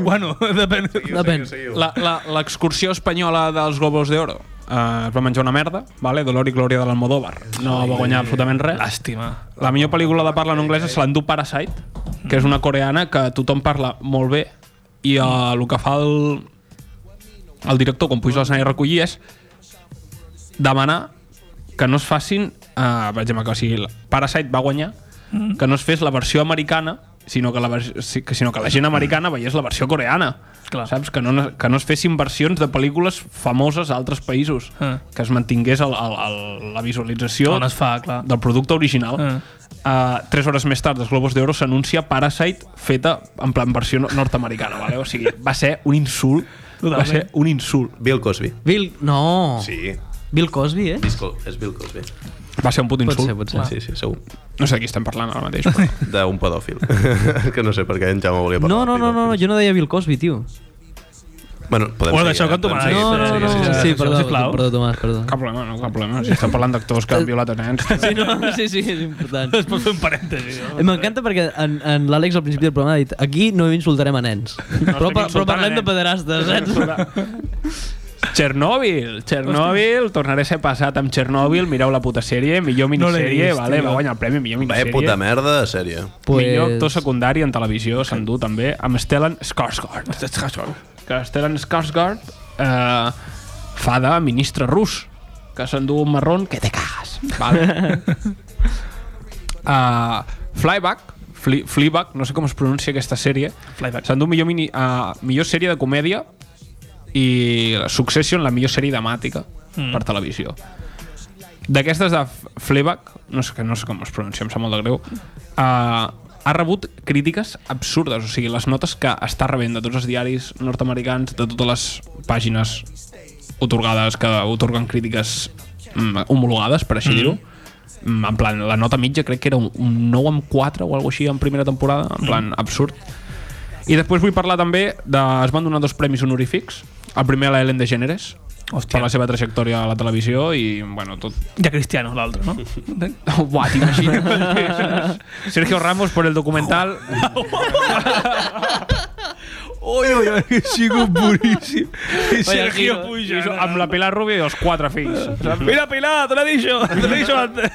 [SPEAKER 6] bueno, depèn.
[SPEAKER 2] Depèn.
[SPEAKER 5] La- la- L'excursió espanyola dels Globos d'Oro. Uh, es va menjar una merda, vale? Dolor i glòria de l'Almodóvar. No va guanyar absolutament res.
[SPEAKER 6] Llàstima.
[SPEAKER 5] La millor pel·lícula de parla en anglès és l'Endú Parasite, que és una coreana que tothom parla molt bé i eh, el que fa el, el director quan puja l'escenari a recollir és demanar que no es facin eh, per exemple, que si el Parasite va guanyar
[SPEAKER 6] Mm.
[SPEAKER 5] que no es fes la versió americana sinó que la, vers- si- que, sinó que la gent americana veiés la versió coreana
[SPEAKER 6] Clar.
[SPEAKER 5] saps? Que, no, que no es fessin versions de pel·lícules famoses a altres països
[SPEAKER 6] Ah.
[SPEAKER 5] que es mantingués el, el, el, la visualització
[SPEAKER 6] On es fa, clar.
[SPEAKER 5] del producte original.
[SPEAKER 6] Ah.
[SPEAKER 5] Uh. Uh, tres hores més tard, dels Globos d'Oro s'anuncia Parasite feta en plan versió no- nord-americana. Vale? O sigui, va ser un insult.
[SPEAKER 6] Totalment.
[SPEAKER 5] Va ser un insult.
[SPEAKER 4] Bill Cosby.
[SPEAKER 2] Bill... No.
[SPEAKER 4] Sí,
[SPEAKER 2] Bill Cosby, eh?
[SPEAKER 4] Bill Cos- és Bill Cosby.
[SPEAKER 5] Va ser un puto
[SPEAKER 2] Pot
[SPEAKER 5] insult.
[SPEAKER 2] ser, pot ser.
[SPEAKER 4] Sí, sí, segur.
[SPEAKER 5] No sé de qui estem parlant ara mateix. Però...
[SPEAKER 4] D'un pedòfil. És que no sé per què en Jaume volia
[SPEAKER 2] No,
[SPEAKER 4] parlar.
[SPEAKER 2] no, no, no, no, jo no deia Bill Cosby, tio.
[SPEAKER 4] Bueno, podem
[SPEAKER 6] Ho has
[SPEAKER 4] seguir,
[SPEAKER 6] deixat
[SPEAKER 4] eh?
[SPEAKER 6] com
[SPEAKER 4] Podem
[SPEAKER 6] tu
[SPEAKER 4] seguir,
[SPEAKER 6] m'has-
[SPEAKER 2] No,
[SPEAKER 4] podem
[SPEAKER 2] no, no,
[SPEAKER 4] seguir, sí, sí.
[SPEAKER 2] sí, perdó,
[SPEAKER 6] sisplau.
[SPEAKER 2] perdó, Tomàs, perdó.
[SPEAKER 5] cap problema, no, cap problema. Si estem parlant d'actors que han violat a nens...
[SPEAKER 2] Sí, no, sí, sí, és important.
[SPEAKER 6] Es pot fer un parèntesi. no?
[SPEAKER 2] Eh, M'encanta perquè en, en l'Àlex al principi del programa ha dit aquí no insultarem a nens. però, pa- però
[SPEAKER 5] insultant
[SPEAKER 2] parlem
[SPEAKER 5] a
[SPEAKER 2] de
[SPEAKER 5] nens.
[SPEAKER 2] pederastes, eh? saps?
[SPEAKER 5] Chernobyl, Chernobyl, tornaré a ser passat amb Chernobyl, mireu la puta sèrie, millor
[SPEAKER 6] No l'he
[SPEAKER 5] minisèrie,
[SPEAKER 6] vist,
[SPEAKER 5] vale?
[SPEAKER 6] tio.
[SPEAKER 5] va guanyar el premi, millor
[SPEAKER 4] Vaya
[SPEAKER 5] minisèrie.
[SPEAKER 4] puta merda de sèrie.
[SPEAKER 2] Pues-
[SPEAKER 5] Millor actor secundari en televisió s'endú també amb Stellan Skarsgård. Que Stellan Skarsgård eh, fa de ministre rus, que s'endú un marrón que te cagas. Vale. uh, Flyback, Fli Fleabag, no sé com es pronuncia aquesta sèrie,
[SPEAKER 6] Flyback.
[SPEAKER 5] s'endú millor, mini, uh, millor sèrie de comèdia i Succession, la millor sèrie dramàtica mm. per televisió. D'aquestes de F- Fleabag, no sé, que no sé com es pronuncia, em sap molt de greu, uh, ha rebut crítiques absurdes, o sigui, les notes que està rebent de tots els diaris nord-americans, de totes les pàgines otorgades que otorguen crítiques mm, homologades, per així dir-ho, Mm, en plan, la nota mitja crec que era un, un 9 amb 4 o alguna així en primera temporada, en plan, absurd. I després vull parlar també de... Es van donar dos premis honorífics. El primer a la Ellen DeGeneres, Hòstia. per la seva trajectòria a la televisió i, bueno, tot...
[SPEAKER 6] Ja Cristiano, l'altre, no?
[SPEAKER 5] Uah, t'imagines? Sergio Ramos per el documental...
[SPEAKER 6] Ui, ui, ui, ha sigut boníssim. I Sergio
[SPEAKER 5] I
[SPEAKER 6] Puja.
[SPEAKER 5] això, amb la Pilar Rubio i els quatre fills. saps?
[SPEAKER 6] Mira, Pilar, te l'he dit jo. Te l'he dit jo antes.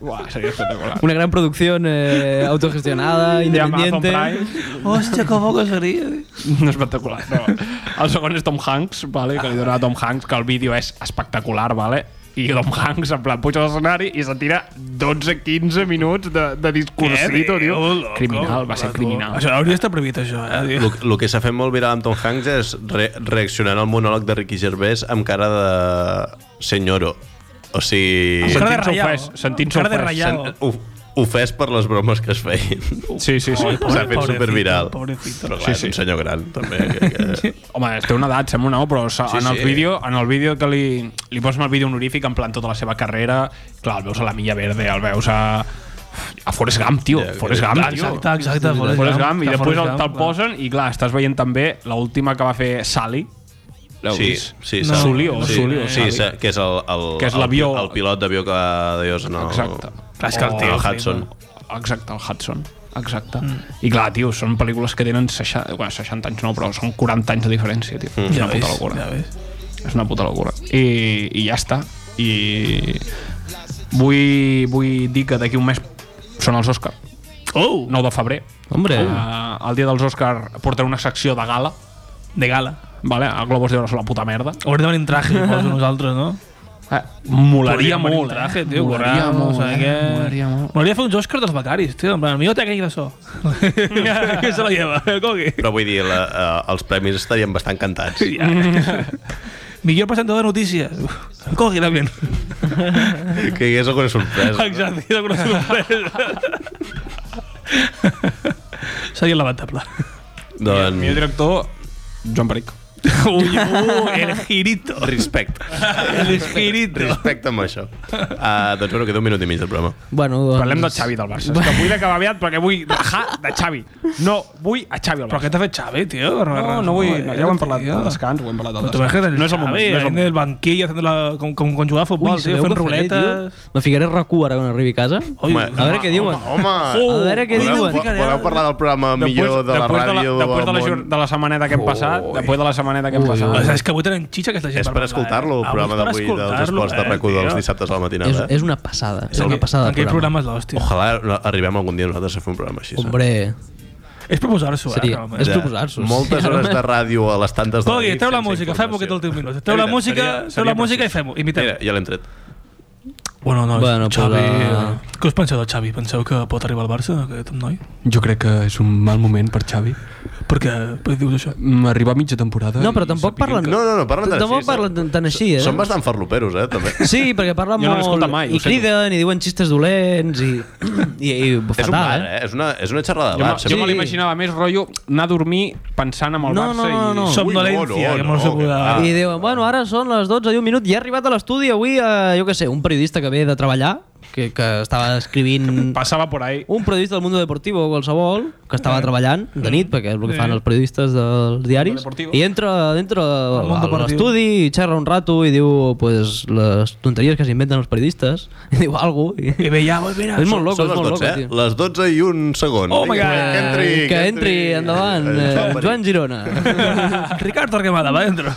[SPEAKER 5] Uah, seria espectacular.
[SPEAKER 2] Una gran producció eh, autogestionada,
[SPEAKER 5] De Amazon
[SPEAKER 2] independiente.
[SPEAKER 5] Prime.
[SPEAKER 6] Hòstia, que bo que seria.
[SPEAKER 5] No espectacular, però... El segon és Tom Hanks, vale, que li dona a Tom Hanks, que el vídeo és espectacular, vale? i Tom Hanks en plan puja a l'escenari i se tira 12-15 minuts de, de discursito, tio. Criminal, va ser criminal.
[SPEAKER 6] Això hauria d'estar prohibit, això, eh, tio.
[SPEAKER 4] El que s'ha fet molt viral amb Tom Hanks és re reaccionant al monòleg de Ricky Gervais amb cara de senyoro. O sigui...
[SPEAKER 5] Sentint-se
[SPEAKER 6] Cara de rayado.
[SPEAKER 5] ofès, sentint-se
[SPEAKER 6] Cara de
[SPEAKER 5] ofès.
[SPEAKER 6] rayado.
[SPEAKER 4] sent- of- ofès per les bromes que es feien.
[SPEAKER 5] Sí, sí, sí.
[SPEAKER 4] S'ha fet
[SPEAKER 6] pobrecito,
[SPEAKER 4] superviral.
[SPEAKER 6] pobrecito.
[SPEAKER 4] Però clar,
[SPEAKER 5] Sí, sí.
[SPEAKER 4] és un senyor gran, també. Que, que...
[SPEAKER 5] Home, té una edat, sembla una, però sí, en, el
[SPEAKER 4] sí.
[SPEAKER 5] vídeo, en el vídeo que li, li posen el vídeo honorífic en plan tota la seva carrera, clar, el veus a la Milla Verde, el veus a... A Forrest Gump, tio.
[SPEAKER 4] Ja,
[SPEAKER 5] Forrest Gump, tio.
[SPEAKER 6] Exacte, exacte.
[SPEAKER 5] Forrest Gump, i
[SPEAKER 6] Que
[SPEAKER 5] després el,
[SPEAKER 6] Forrest
[SPEAKER 5] te'l
[SPEAKER 6] Gump,
[SPEAKER 5] posen i clar, estàs veient també l'última que va fer Sally l'heu
[SPEAKER 4] Sí,
[SPEAKER 5] vist?
[SPEAKER 4] sí,
[SPEAKER 6] No.
[SPEAKER 4] s'ha-
[SPEAKER 5] Sully o
[SPEAKER 4] sí,
[SPEAKER 5] Sully o
[SPEAKER 4] sí,
[SPEAKER 5] Sally.
[SPEAKER 4] s'ha- que és el, el,
[SPEAKER 5] Que és
[SPEAKER 4] el, pi-
[SPEAKER 5] l'avió.
[SPEAKER 4] el pilot d'avió que deies no,
[SPEAKER 5] exacte
[SPEAKER 6] Clar, és que Oh. el
[SPEAKER 4] el
[SPEAKER 6] tio...
[SPEAKER 4] Hudson.
[SPEAKER 5] exacte, el Hudson Exacte. Mm. I clar, tio, són pel·lícules que tenen 60, bueno, 60 anys no, però són 40 anys de diferència, tio. Mm. És
[SPEAKER 6] Ja
[SPEAKER 5] una puta
[SPEAKER 6] ves,
[SPEAKER 5] locura.
[SPEAKER 6] ja ves.
[SPEAKER 5] És una puta locura. I, i ja està. I vull, vull dir que d'aquí un mes són els Òscar.
[SPEAKER 6] Oh!
[SPEAKER 5] 9 de febrer.
[SPEAKER 2] Hombre,
[SPEAKER 5] Uh, el dia dels Òscar portaré una secció de gala.
[SPEAKER 6] De gala.
[SPEAKER 5] Vale? El Globos d'Or és la puta merda.
[SPEAKER 6] Haurem de venir en traje, suposo, nosaltres, no?
[SPEAKER 5] Eh,
[SPEAKER 6] Podríem
[SPEAKER 5] molaria
[SPEAKER 6] venir en
[SPEAKER 5] molt,
[SPEAKER 6] Ah,
[SPEAKER 5] eh?
[SPEAKER 6] traje, tio,
[SPEAKER 5] molaria
[SPEAKER 6] borrado,
[SPEAKER 5] molt,
[SPEAKER 6] sabe
[SPEAKER 5] eh?
[SPEAKER 6] què?
[SPEAKER 5] Molaria molt.
[SPEAKER 6] Molaria fer uns Oscars dels becaris, tio. En plan, millor té aquell de so. que se la lleva, el coqui.
[SPEAKER 4] Però vull dir, la, eh, els premis estarien bastant cantats.
[SPEAKER 6] Ja. millor presentador de notícies. El coqui, també.
[SPEAKER 4] Que hi hagués alguna sorpresa.
[SPEAKER 6] Exacte, era una sorpresa. Seria lamentable.
[SPEAKER 5] El millor
[SPEAKER 4] Doncs,
[SPEAKER 5] director, Joan Peric.
[SPEAKER 6] Ui, uh, el girito.
[SPEAKER 4] respecte.
[SPEAKER 6] El girito.
[SPEAKER 4] Respecte amb això. Uh, doncs bueno, queda un minut i mig del programa.
[SPEAKER 2] bueno, doncs...
[SPEAKER 5] Parlem del Xavi del Barça. És que vull acabar aviat perquè vull bajar de Xavi. No, vull a Xavi al
[SPEAKER 6] Però
[SPEAKER 5] Barça.
[SPEAKER 6] què t'ha fet Xavi, tio?
[SPEAKER 5] No, no vull...
[SPEAKER 6] Joder,
[SPEAKER 5] ja ho hem parlat
[SPEAKER 6] tio.
[SPEAKER 5] del descans, ho hem parlat del
[SPEAKER 6] Pero tú ves que
[SPEAKER 5] descans.
[SPEAKER 6] del
[SPEAKER 5] No és el moment. No és el
[SPEAKER 6] en el
[SPEAKER 5] moment.
[SPEAKER 6] banquillo haciendo la, con, con, con jugar a
[SPEAKER 2] Ui,
[SPEAKER 6] fútbol, tío,
[SPEAKER 2] sabeu
[SPEAKER 6] fent
[SPEAKER 2] què faré, tio?
[SPEAKER 6] ruletas.
[SPEAKER 2] Me ficaré a RAC1 ara quan arribi a casa.
[SPEAKER 6] Ui,
[SPEAKER 4] Home,
[SPEAKER 2] a veure què diuen.
[SPEAKER 4] Home!
[SPEAKER 2] A veure què
[SPEAKER 4] voleu,
[SPEAKER 2] diuen.
[SPEAKER 4] vo- voleu parlar del programa millor de la ràdio
[SPEAKER 5] de la, després de la,
[SPEAKER 4] del
[SPEAKER 5] jor-
[SPEAKER 4] món?
[SPEAKER 5] de la setmaneta que hem passat, després de la setmaneta que hem
[SPEAKER 6] O sea,
[SPEAKER 5] passat...
[SPEAKER 6] és que avui tenen xitxa aquesta gent
[SPEAKER 4] És per escoltar-lo,
[SPEAKER 6] Ah,
[SPEAKER 4] el programa
[SPEAKER 6] doncs
[SPEAKER 4] d'avui dels esports
[SPEAKER 6] eh,
[SPEAKER 4] de rac dels dissabtes a la matinada.
[SPEAKER 2] És,
[SPEAKER 4] eh?
[SPEAKER 2] és una passada. És una
[SPEAKER 6] Aquell,
[SPEAKER 2] passada de
[SPEAKER 6] aquell
[SPEAKER 2] programa.
[SPEAKER 6] programa és l'hòstia.
[SPEAKER 4] Ojalà no- arribem algun dia nosaltres a fer un programa així. eh?
[SPEAKER 2] Hombre,
[SPEAKER 6] És proposar-s'ho, eh?
[SPEAKER 2] Seria-
[SPEAKER 6] realment.
[SPEAKER 2] és
[SPEAKER 4] Ja.
[SPEAKER 2] proposar-s'ho.
[SPEAKER 4] Moltes hores de ràdio a les tantes de la
[SPEAKER 6] Cogui,
[SPEAKER 4] nit
[SPEAKER 6] treu la
[SPEAKER 4] sense
[SPEAKER 6] música, fem-ho
[SPEAKER 4] informació.
[SPEAKER 6] aquest últim minut. Treu la
[SPEAKER 4] Seria-
[SPEAKER 6] música, treu la
[SPEAKER 5] seria
[SPEAKER 6] música i
[SPEAKER 5] precís.
[SPEAKER 6] fem-ho, imitem.
[SPEAKER 4] Mira, ja l'hem tret.
[SPEAKER 6] Bueno, no,
[SPEAKER 2] Bueno,
[SPEAKER 6] Xavi...
[SPEAKER 2] però-
[SPEAKER 6] eh, Què us penseu del Xavi? Penseu que pot arribar al Barça, aquest noi?
[SPEAKER 5] Jo crec que és un mal moment per Xavi.
[SPEAKER 6] Per què per què dius això?
[SPEAKER 5] Arribar a mitja temporada...
[SPEAKER 2] No, però tampoc parlen...
[SPEAKER 4] No, no, no, parlen tant
[SPEAKER 2] Tampoc
[SPEAKER 4] així,
[SPEAKER 2] parlen
[SPEAKER 4] són-
[SPEAKER 2] tan, tan així, eh?
[SPEAKER 4] Són bastant farloperos, eh, també.
[SPEAKER 2] Sí, perquè parlen
[SPEAKER 5] Jo no
[SPEAKER 2] molt...
[SPEAKER 5] l'escolto mai, ho
[SPEAKER 2] I criden, i diuen xistes dolents, i... i, i fatal,
[SPEAKER 4] És un bar,
[SPEAKER 2] eh?
[SPEAKER 4] eh? És una, és una xerrada de
[SPEAKER 5] Jo,
[SPEAKER 4] bar.
[SPEAKER 5] me- jo me
[SPEAKER 4] sempre.
[SPEAKER 5] l'imaginava més rotllo anar a dormir pensant en el
[SPEAKER 2] No,
[SPEAKER 5] Barça
[SPEAKER 2] no, no, no.
[SPEAKER 5] i...
[SPEAKER 4] no, no,
[SPEAKER 6] Somnolència, que molt
[SPEAKER 4] no,
[SPEAKER 6] segura.
[SPEAKER 4] que-
[SPEAKER 2] I diuen, bueno, ara són les 12 i un minut i ha arribat a l'estudi avui, eh, jo què sé, un periodista que ve de treballar, que, que estava escrivint...
[SPEAKER 5] Passava por ahí.
[SPEAKER 2] Un periodista del Mundo Deportivo o qualsevol que estava treballant de nit, perquè és el que fan els periodistes dels diaris,
[SPEAKER 5] Deportivo.
[SPEAKER 2] i entra dintre
[SPEAKER 6] Mundo
[SPEAKER 2] a
[SPEAKER 6] Deportivo.
[SPEAKER 2] l'estudi, i xerra un rato i diu pues, les tonteries que s'inventen els periodistes, i diu alguna cosa.
[SPEAKER 6] I ve ja, oi, mira,
[SPEAKER 2] És molt loco,
[SPEAKER 4] Són
[SPEAKER 2] és
[SPEAKER 4] les
[SPEAKER 2] molt
[SPEAKER 4] 12,
[SPEAKER 2] loco,
[SPEAKER 4] eh?
[SPEAKER 2] tio. Eh,
[SPEAKER 4] Les 12 i un segon.
[SPEAKER 6] Oh my God.
[SPEAKER 4] Que entri,
[SPEAKER 2] que, entri, endavant. Eh, Joan
[SPEAKER 4] Joan Perill.
[SPEAKER 2] Girona.
[SPEAKER 6] Ricardo Arquemada, va dentro.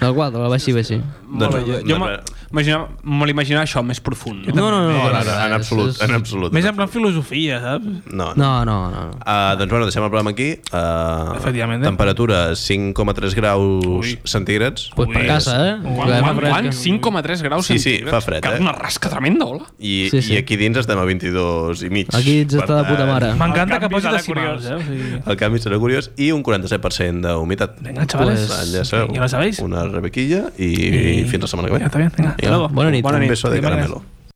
[SPEAKER 2] El quadre, va així, va així.
[SPEAKER 4] Doncs,
[SPEAKER 5] Jo
[SPEAKER 4] no,
[SPEAKER 5] me- m'imaginava- me l'imaginava això, més profund.
[SPEAKER 2] No, no, no.
[SPEAKER 4] no,
[SPEAKER 2] No,
[SPEAKER 4] no, no, en absolut, en absolut.
[SPEAKER 6] Més en plan filosofia, saps?
[SPEAKER 4] No, no.
[SPEAKER 2] no, no. no.
[SPEAKER 4] Uh, doncs bueno, deixem el programa aquí. Uh,
[SPEAKER 6] Efectivament, eh?
[SPEAKER 4] Temperatura 5,3 graus centígrads.
[SPEAKER 2] Pues per
[SPEAKER 6] Ui.
[SPEAKER 2] casa, eh?
[SPEAKER 5] Quan,
[SPEAKER 2] Que
[SPEAKER 5] quan,
[SPEAKER 2] fresca.
[SPEAKER 5] quan? 5,3 graus
[SPEAKER 4] Sí, sí,
[SPEAKER 5] centígrads.
[SPEAKER 4] fa fred,
[SPEAKER 5] Que
[SPEAKER 4] eh?
[SPEAKER 5] Una rasca tremenda, hola.
[SPEAKER 4] I,
[SPEAKER 2] Sí, sí.
[SPEAKER 4] I aquí dins estem a 22 i mig.
[SPEAKER 2] Aquí ens
[SPEAKER 4] Per
[SPEAKER 2] està de puta
[SPEAKER 4] tant,
[SPEAKER 2] mare.
[SPEAKER 6] M'encanta que
[SPEAKER 5] canvi
[SPEAKER 6] posis
[SPEAKER 5] serà
[SPEAKER 6] decimals,
[SPEAKER 5] curiós.
[SPEAKER 6] eh? O sigui...
[SPEAKER 4] El canvi serà curiós i un 47% d'humitat.
[SPEAKER 6] Venga, chavales.
[SPEAKER 4] Pues, ja sabeu,
[SPEAKER 6] ya lo sabéis.
[SPEAKER 4] Una rebequilla i, i fins la setmana que ve.
[SPEAKER 6] Ya está bien, venga. Hasta luego.
[SPEAKER 2] Buena nit.
[SPEAKER 4] Un beso de
[SPEAKER 6] Bien,
[SPEAKER 4] caramelo.